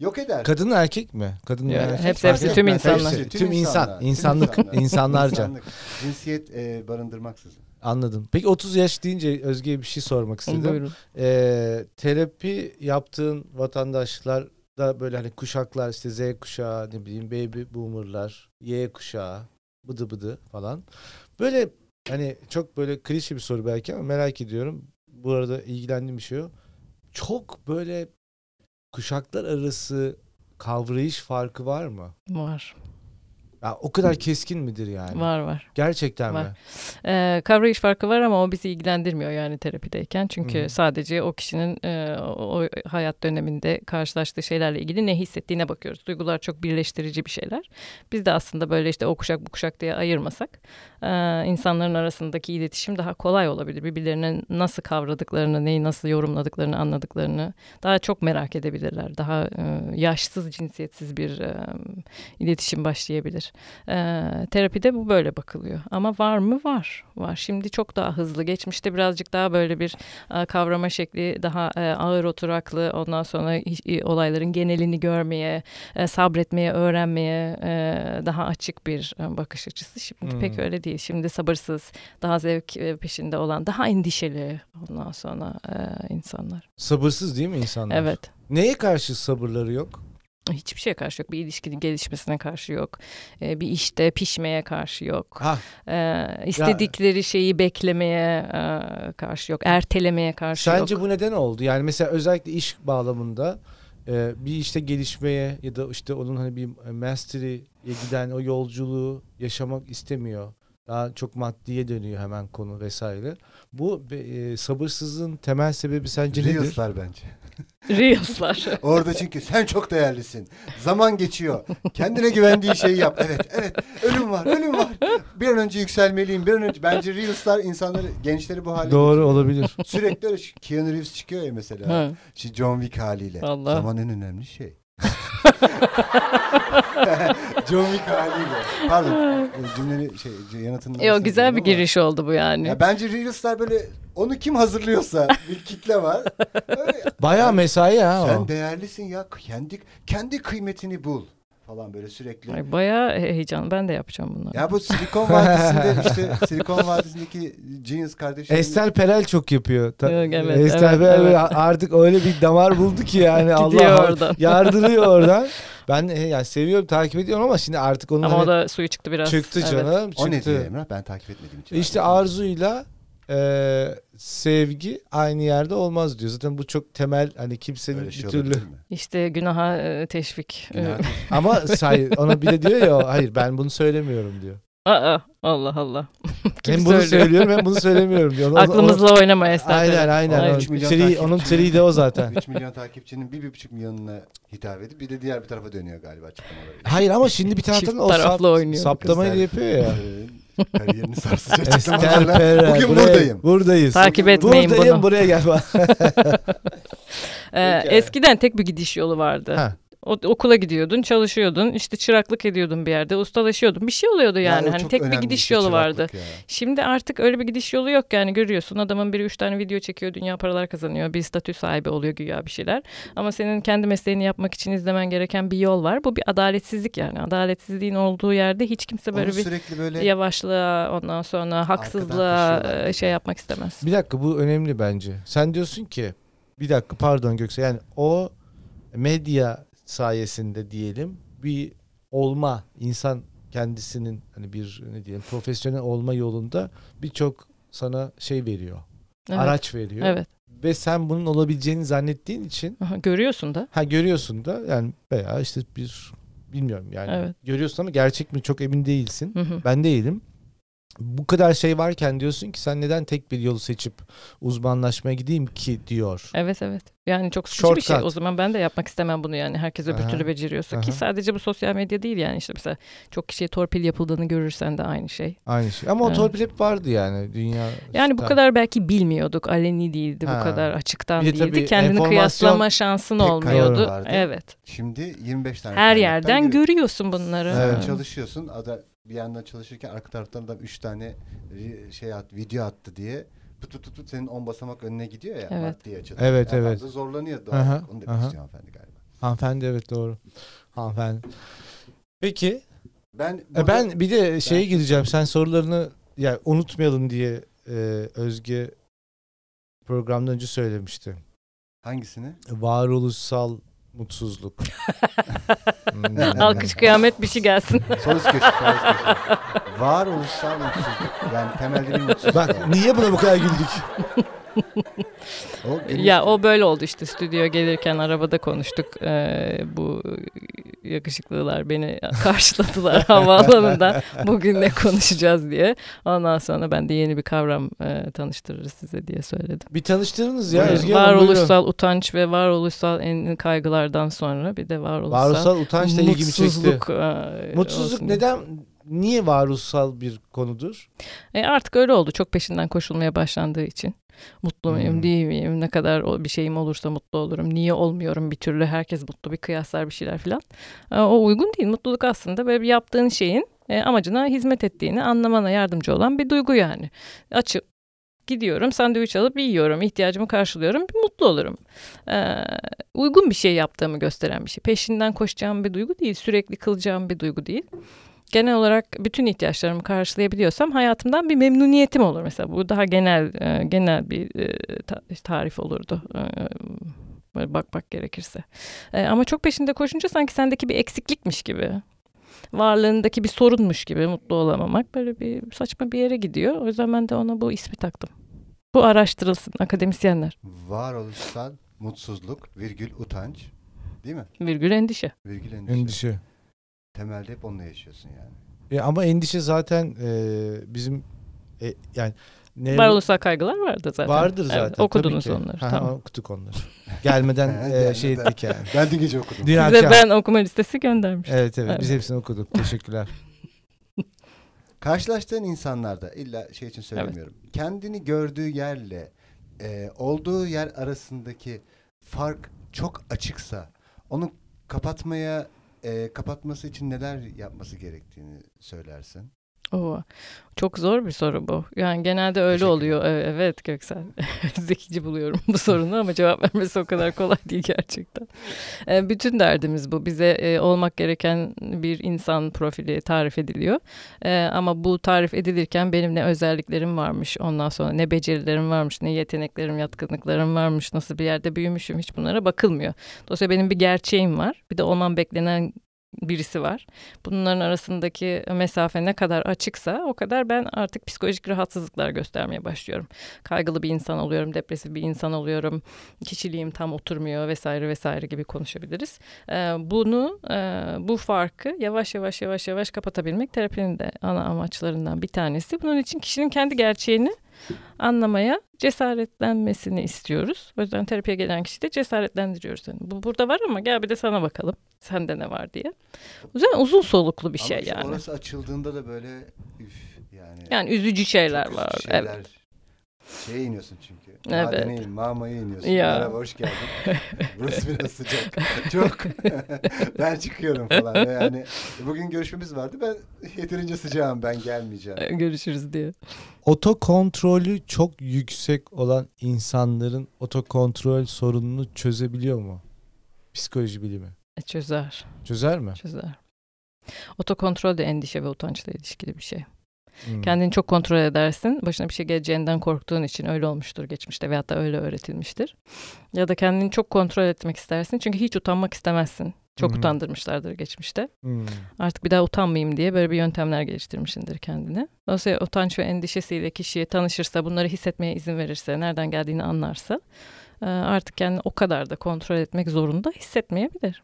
B: yok eder.
A: Kadın erkek mi? Kadın mı
C: Ya,
A: erkek
C: hepsi,
A: fark
C: hepsi,
A: etmez.
C: tüm insanlar.
A: Hepsi, Tüm insan, insanlık, insanlarca.
B: İnsanlık. Cinsiyet e, barındırmaksızın.
A: Anladım. Peki 30 yaş deyince Özge'ye bir şey sormak istedim.
C: Buyurun.
A: Ee, terapi yaptığın vatandaşlar da böyle hani kuşaklar işte Z kuşağı ne bileyim baby boomerlar, Y kuşağı, bıdı bıdı falan. Böyle hani çok böyle klişe bir soru belki ama merak ediyorum. Bu arada ilgilendiğim bir şey o. Çok böyle kuşaklar arası kavrayış farkı var mı?
C: Var,
A: Ya o kadar keskin midir yani?
C: var, var.
A: Gerçekten
C: Var.
A: mi?
C: Ee, kavrayış farkı var ama o bizi ilgilendirmiyor yani terapideyken. Çünkü
A: Hı hı.
C: sadece o kişinin e, o o hayat döneminde karşılaştığı şeylerle ilgili ne hissettiğine bakıyoruz. Duygular çok birleştirici bir şeyler. Biz de aslında böyle işte o kuşak bu kuşak diye ayırmasak e, insanların arasındaki iletişim daha kolay olabilir. Birbirlerinin nasıl kavradıklarını, neyi nasıl yorumladıklarını, anladıklarını daha çok merak edebilirler. Daha e, yaşsız, cinsiyetsiz bir e, iletişim başlayabilir. Ee, terapide bu böyle bakılıyor. Ama var mı? Var. Var. Şimdi çok daha hızlı. Geçmişte birazcık daha böyle bir e, kavrama şekli daha e, ağır oturaklı. Ondan sonra hiç- e, olayların genelini görmeye, e, sabretmeye, öğrenmeye e, daha açık bir e, bakış açısı. Şimdi pek
A: Hmm.
C: öyle değil. Şimdi sabırsız, daha zevk e, peşinde olan, daha endişeli ondan sonra e, insanlar.
A: Sabırsız değil mi insanlar?
C: Evet.
A: Neye karşı sabırları yok?
C: Hiçbir şeye karşı yok. Bir ilişkinin gelişmesine karşı yok. E, bir işte pişmeye karşı yok.
A: Ha,
C: Ee, istedikleri şeyi beklemeye e, karşı yok. Ertelemeye karşı
A: sence
C: şey yok.
A: bu neden oldu? Yani mesela özellikle iş bağlamında e, bir işte gelişmeye ya da işte onun hani bir mastery'e giden o yolculuğu yaşamak istemiyor. Daha çok maddiye dönüyor hemen konu vesaire. Bu e, sabırsızlığın temel sebebi sence nedir?
B: Reels'lar bence.
A: [laughs]
C: Reels'lar.
B: Orada çünkü sen çok değerlisin. Zaman geçiyor. Kendine güvendiği şeyi yap. Evet, evet. Ölüm var, ölüm var. Bir an önce yükselmeliyim. Bir an önce. Bence Reels'lar insanları, gençleri bu hale
A: Doğru olabilir.
B: getiriyor. Sürekli öyle. şu Keanu Reeves çıkıyor ya mesela.
C: Ha.
B: Şu John Wick haliyle.
C: Allah.
B: Zaman en önemli şey. [laughs] John Wick haliyle. Pardon. Cümleni şey, yanıtını...
C: Yo, E, güzel bir
B: ama-
C: giriş oldu bu yani.
B: Ya bence Reels'lar böyle onu kim
A: [laughs]
B: hazırlıyorsa bir kitle var. Öyle-
A: Bayağı mesai ha o.
B: sen değerlisin ya. Kendi kendi kıymetini bul falan böyle sürekli.
C: Ay, bayağı he- heyecan. Ben de yapacağım bunları.
B: Ya bu Silikon
A: [laughs]
B: Vadisi'nde işte Silikon Vadisi'ndeki Genius kardeşim.
A: Estel Perel çok yapıyor. Ta-
C: Yok, evet,
A: Estel
C: evet,
A: Perel
C: evet. [laughs]
A: artık öyle bir damar buldu ki yani
C: Gidiyor
A: Allah
C: oradan.
A: yardırıyor oradan. Ben e, yani seviyorum takip ediyorum ama şimdi artık onun
C: Ama
A: hani
C: o da suyu çıktı biraz.
A: çıktı
C: Evet.
A: canım.
B: O ne
A: çıktı.
B: diyor Emrah? Ben takip etmediğim için.
A: İşte
B: anlamadım.
A: arzuyla e, sevgi aynı yerde olmaz diyor. Zaten bu çok temel hani kimsenin
B: Öyle
A: bir
B: şey
A: türlü.
B: olabilir mi?
C: İşte günaha e, teşvik.
B: Günah- [laughs]
A: Ama say, ona bir de diyor ya hayır ben bunu söylemiyorum diyor.
C: Aa, Allah Allah. [laughs] Kim
A: hem bunu
C: söylüyor?
A: söylüyorum hem bunu söylemiyorum diyor. Onu- onu-
C: Aklımızla oynama Ester.
A: Aynen
C: Ay,
A: aynen.
B: üç
A: O
B: milyon
A: tri-
B: takipçi.
A: onun tri de o
B: [laughs]
A: zaten.
B: 3 milyon takipçinin 1,5 milyonuna hitap edip bir de diğer bir tarafa dönüyor galiba açıklamaları.
A: Hayır ama şimdi bir taraftan
C: Çift
A: o sap,
C: taraflı oynuyor.
A: saptamayı da yapıyor ya.
B: Ee, Kariyerini sarsıcı
A: Ester
B: açıklamalarla.
A: Perel,
B: Bugün
A: buraya-
B: buradayım.
A: Buradayız.
C: Takip etmeyin
A: buradayım
C: bunu.
A: buraya gel.
C: Ee,
A: Peki.
C: eskiden tek bir gidiş yolu vardı.
A: Ha.
C: O, okula gidiyordun, çalışıyordun, işte çıraklık ediyordun bir yerde, ustalaşıyordun. Bir şey oluyordu yani.
B: o
C: hani
B: çok
C: tek bir
B: önemli
C: gidiş
B: işte,
C: yolu
B: çıraklık
C: vardı.
B: ya.
C: Şimdi artık öyle bir gidiş yolu yok yani görüyorsun adamın biri üç tane video çekiyor dünya paralar kazanıyor bir statü sahibi oluyor güya bir şeyler. Ama senin kendi mesleğini yapmak için izlemen gereken bir yol var. Bu bir adaletsizlik yani adaletsizliğin olduğu yerde hiç kimse
B: Onu
C: böyle bir
B: sürekli böyle
C: yavaşlığa ondan sonra haksızlığa
B: kaşıyorlar.
C: e, şey yapmak istemez.
A: Bir dakika bu önemli bence. Sen diyorsun ki bir dakika pardon Göksel yani o medya sayesinde diyelim bir olma insan kendisinin hani bir ne diyelim profesyonel olma yolunda birçok sana şey veriyor.
C: Evet.
A: Araç veriyor.
C: Evet.
A: Ve sen bunun olabileceğini zannettiğin için
C: Aha, Görüyorsun da.
A: ha görüyorsun da yani veya işte bir bilmiyorum yani
C: Evet.
A: görüyorsun ama gerçek mi çok emin değilsin.
C: Hı hı.
A: Ben değilim. Bu kadar şey varken diyorsun ki sen neden tek bir yolu seçip uzmanlaşmaya gideyim ki diyor.
C: Evet evet. Yani çok sıkıcı bir şey.
A: Shortcut.
C: O zaman ben de yapmak istemem bunu yani. Herkes öbür
A: Aha,
C: türlü beceriyorsa ki
A: aha.
C: sadece bu sosyal medya değil yani işte mesela çok kişiye torpil yapıldığını görürsen de aynı şey.
A: Aynı şey. Ama o
C: Evet.
A: torpil hep vardı yani dünya.
C: Yani bu
A: Tabii.
C: kadar belki bilmiyorduk. Aleni değildi
A: Ha.
C: bu kadar açıktan
A: Bir de tabii
C: değildi. Kendini
A: enformasyon
C: kıyaslama şansın
B: pek
C: olmuyordu.
B: kaynağı vardı.
C: Evet.
B: Şimdi 25 tane.
C: Her
B: kaynaktan
C: yerden
B: görüyorsun.
C: görüyorsun bunları.
B: Sen
A: Evet.
B: Çalışıyorsun. Ada bir yandan çalışırken arka taraftan da 3 tane ri- şey at, video attı diye pıt pıt pıt pıt senin 10 basamak önüne gidiyor ya.
C: Evet.
B: Maddi açıdan.
A: Evet,
B: Adam
A: evet.
B: da zorlanıyor doğal.
A: Aha,
B: olarak. Onu demek
A: aha.
B: istiyor hanımefendi galiba.
A: Hanımefendi evet doğru. Hanımefendi. Peki
B: Ben
A: e,
B: burada-
A: ben bir de şeye gireceğim. Sen sorularını yani unutmayalım diye e, Özge programdan önce söylemişti.
B: hangisini?
A: Varoluşsal
C: [laughs]
A: mutsuzluk. Hmm.
C: [laughs] Alkış kıyamet bir şey gelsin.
B: Sonuç köşesi. sonuç köşesi. Varoluşsal mutsuzluk. Yani temelde bir mutsuzluk.
A: Bak niye buna bu kadar güldük?
B: O günün-
C: ya o böyle oldu işte stüdyoya gelirken arabada konuştuk. Ee, bu yakışıklılar beni [laughs]
A: [laughs]
C: karşıladılar havaalanında. Bugün ne konuşacağız diye. Ondan sonra ben de yeni bir kavram e, tanıştırırız size diye söyledim.
A: Bir tanıştırınız ya
B: Buyurun.
A: Özge Hanım, buyurun.
C: varoluşsal utanç ve varoluşsal en kaygılardan sonra bir de varoluşsal,
A: Varoluşsal utançla ilgimi çekti.
C: mutsuzluk. e,
A: Mutsuzluk
C: olsun.
A: neden niye varoluşsal bir konudur?
C: E artık öyle oldu. Çok peşinden koşulmaya başlandığı için. Mutlu muyum,
A: Hmm.
C: değil miyim? Ne kadar o- bir şeyim olursa mutlu olurum. Niye olmuyorum bir türlü? Herkes mutlu bir kıyaslar bir şeyler filan. E, o uygun değil. Mutluluk aslında böyle bir yaptığın şeyin e, amacına hizmet ettiğini anlamana yardımcı olan bir duygu yani. Açıp gidiyorum sandviç alıp yiyorum ihtiyacımı karşılıyorum mutlu olurum E, uygun bir şey yaptığımı gösteren bir şey peşinden koşacağım bir duygu değil sürekli kılacağım bir duygu değil genel olarak bütün ihtiyaçlarımı karşılayabiliyorsam hayatımdan bir memnuniyetim olur mesela. Bu daha genel e, genel bir e, ta- tarif olurdu. E, Böyle bak bak gerekirse. E, ama çok peşinde koşunca sanki sendeki bir eksiklikmiş gibi. Varlığındaki bir sorunmuş gibi mutlu olamamak böyle bir saçma bir yere gidiyor. O yüzden ben de ona bu ismi taktım. Bu araştırılsın akademisyenler.
B: Varoluşsal mutsuzluk virgül utanç. Değil mi?
C: Virgül endişe.
B: Virgül endişe.
A: Endişe.
B: Temelde hep onunla yaşıyorsun yani.
A: E, ama endişe zaten e, bizim e, yani ne
C: Varoluşsal kaygılar vardı zaten.
A: vardır
C: Evet,
A: zaten. tabii
C: okudunuz
A: ki.
C: onları.
A: Ha,
C: tamam.
A: Okuduk onları.
B: [laughs]
A: [laughs] Gelmeden e, şey
B: Gelmeden.
A: ettik yani.
B: Ben dün gece okudum.
A: Dün
C: Size
A: akşam.
C: ben okuma listesi göndermiş.
A: Evet, evet
C: Evet.
A: biz hepsini okuduk. Teşekkürler. [laughs]
B: Karşılaştığın insanlarda illa şey için söylemiyorum. Kendini gördüğü yerle e, olduğu yer arasındaki fark çok açıksa onu kapatmaya e, kapatması için neler yapması gerektiğini söylersin.
C: Oo, çok zor bir soru bu. Yani genelde öyle
B: Teşekkür
C: oluyor. Ee, Evet Göksel. [laughs] Zekici buluyorum bu sorunu ama cevap [laughs] vermesi o kadar kolay değil gerçekten. Ee, Bütün derdimiz bu. Bize e, olmak gereken bir insan profili tarif ediliyor. Ee, Ama bu tarif edilirken benim ne özelliklerim varmış, ondan sonra ne becerilerim varmış, ne yeteneklerim, yatkınlıklarım varmış, nasıl bir yerde büyümüşüm hiç bunlara bakılmıyor. Dolayısıyla benim bir gerçeğim var. Bir de olmam beklenen birisi var. Bunların arasındaki mesafe ne kadar açıksa o kadar ben artık psikolojik rahatsızlıklar göstermeye başlıyorum. Kaygılı bir insan oluyorum, depresif bir insan oluyorum, kişiliğim tam oturmuyor vesaire vesaire gibi konuşabiliriz. Ee, bunu, e, bu farkı yavaş yavaş yavaş yavaş kapatabilmek terapinin de ana amaçlarından bir tanesi. Bunun için kişinin kendi gerçeğini anlamaya cesaretlenmesini istiyoruz. O yüzden terapiye gelen kişiyi de cesaretlendiriyoruz. Yani bu burada var ama gel bir de sana bakalım. Sende ne var diye. O yüzden uzun soluklu bir
B: Ama
C: şey
B: işte
C: yani.
B: Orası açıldığında da böyle üf yani.
C: Yani üzücü şeyler
B: çok üzücü
C: var. Evet.
B: şeyler. Şeye iniyorsun çünkü.
C: Evet.
B: Madene in, mamaya iniyorsun.
C: Ya.
B: Merhaba hoş
C: [laughs]
B: geldin. Burası biraz sıcak. Çok. [laughs] ben çıkıyorum falan. Ve Yani bugün görüşmemiz vardı. Ben yeterince sıcağım ben gelmeyeceğim.
C: Görüşürüz diye.
A: Otokontrolü çok yüksek olan insanların otokontrol sorununu çözebiliyor mu? Psikoloji bilimi.
C: E, Çözer,
A: Çözer mi?
C: çözer. Otokontrol de endişe ve utançla ilişkili bir şey.
A: Hmm.
C: Kendini çok kontrol edersin. Başına bir şey geleceğinden korktuğun için öyle olmuştur geçmişte veyahut da öyle öğretilmiştir. Ya da kendini çok kontrol etmek istersin. Çünkü hiç utanmak istemezsin. Çok
A: Hı hı.
C: utandırmışlardır geçmişte.
A: Hmm.
C: Artık bir daha utanmayayım diye böyle bir yöntemler geliştirmişsindir kendine. Dolayısıyla utanç ve endişesiyle kişiye tanışırsa, bunları hissetmeye izin verirse, nereden geldiğini anlarsa e, artık kendini o kadar da kontrol etmek zorunda hissetmeyebilir.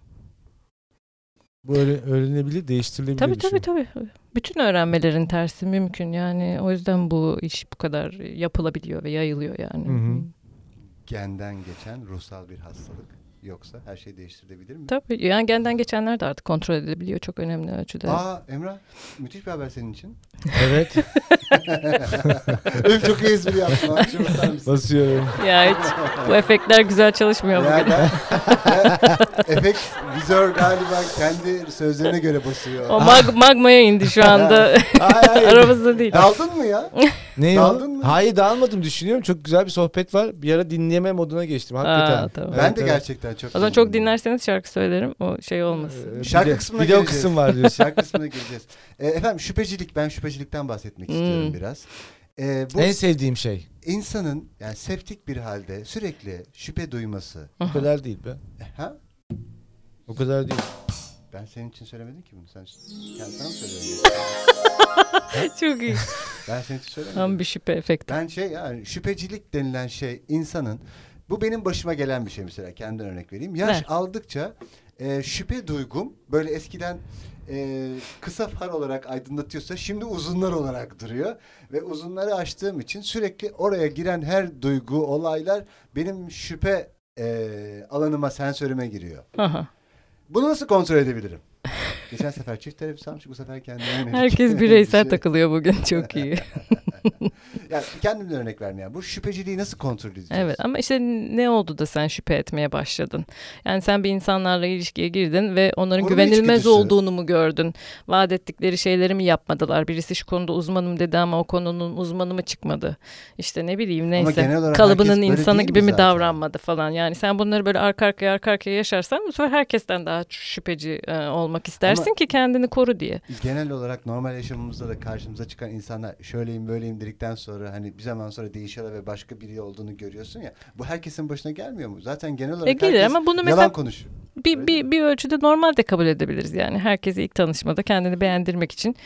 A: Bu öğre- öğrenebilir, değiştirilebilir
C: Tabii
A: bir
C: tabii
A: şey.
C: tabii. Bütün öğrenmelerin tersi mümkün yani. O yüzden bu iş bu kadar yapılabiliyor ve yayılıyor yani.
A: Hı hı.
B: Genden geçen ruhsal bir hastalık. Yoksa her şey değiştirilebilir mi?
C: Tabii yani genden geçenler de artık kontrol edilebiliyor çok önemli ölçüde.
B: Aa Emrah müthiş bir haber senin için.
A: Evet,
B: Öf çok iyi espri yaptın. Alkışa basar mısın?
A: basıyorum.
C: [laughs] ya hiç [laughs] bu efektler güzel çalışmıyor bugün.
B: Yani, [laughs] efekt vizör galiba kendi sözlerine göre basıyor.
C: O mag-
B: [laughs]
C: magmaya indi şu anda.
B: Hayır, hayır.
C: [laughs] Aramızda değil.
B: Daldın mı ya?
A: Ne
B: Daldın
A: o?
B: mı?
A: Hayır dağılmadım düşünüyorum. Çok güzel bir sohbet var. Bir ara dinleme moduna geçtim hakikaten.
C: Aa, tamam.
B: ben
A: Evet,
B: de
A: evet.
B: gerçekten çok.
C: O zaman çok
B: üzüldüm.
C: dinlerseniz şarkı söylerim. O şey olmasın.
A: Ee, bir
B: Şarkı
A: de-
B: kısmına
A: Bir de o
B: geleceğiz.
A: kısım var diyorsun.
B: Şarkı kısmına gireceğiz. E, efendim şüphecilik ben şüphecilikten bahsetmek
C: Hmm.
B: istiyorum biraz. E,
A: [laughs]
B: bu
A: En sevdiğim şey.
B: insanın yani septik bir halde sürekli şüphe duyması. E,
A: O kadar değil be.
B: Ha?
A: O kadar değil.
B: Ben senin için söylemedim ki bunu. Sen kendin söyledin.
C: [laughs] Çok iyi.
B: Ben senin için söylemedim.
C: Tam bir şüphe efekti.
B: Ben şey yani şüphecilik denilen şey insanın bu benim başıma gelen bir şey mesela kendimden örnek vereyim. Yaş
C: Ver.
B: aldıkça e, şüphe duygum böyle eskiden e, kısa far olarak aydınlatıyorsa şimdi uzunlar olarak duruyor ve uzunları açtığım için sürekli oraya giren her duygu olaylar benim şüphe e, alanıma sensörüme giriyor.
C: Aha.
B: Bunu nasıl kontrol
C: [laughs]
B: edebilirim? Geçen sefer çift terapisi almıştık bu sefer kendime yönelik.
C: Herkes
B: [laughs] bir
C: bireysel
B: şey.
C: takılıyor bugün. Çok iyi.
B: Yani kendimden örnek vermeye. Bu şüpheciliği nasıl kontrol edeceğiz?
C: Evet ama işte ne oldu da sen şüphe etmeye başladın? Yani sen bir insanlarla ilişkiye girdin ve onların
B: Onun
C: güvenilmez
B: içgüdüsü.
C: olduğunu mu gördün? Vaat ettikleri şeyleri mi yapmadılar? Birisi şu konuda uzmanım dedi ama o konunun uzmanı mı çıkmadı? İşte ne bileyim
B: genel
C: neyse.
B: olarak
C: Kalıbının
B: herkes böyle
C: insanı
B: değil mi
C: gibi mi
B: zaten?
C: davranmadı falan. Yani sen bunları böyle arka arkaya arka arkaya yaşarsan bu sefer herkesten daha şüpheci e, olmak istersin
B: Ama-
C: ki kendini koru diye.
B: genel olarak normal yaşamımızda da karşımıza çıkan insanlar şöyleyim böyleyim dedikten sonra hani bir zaman sonra değişiyorlar ve başka biri olduğunu görüyorsun ya. Bu herkesin başına gelmiyor mu? Zaten genel olarak
C: E, gelir
B: herkes
C: ama bunu
B: yalan
C: mesela-
B: konuşuyor. Öyle
C: bir,
B: değil
C: bir, bir ölçüde normal de kabul edebiliriz yani. Herkesi ilk tanışmada kendini beğendirmek için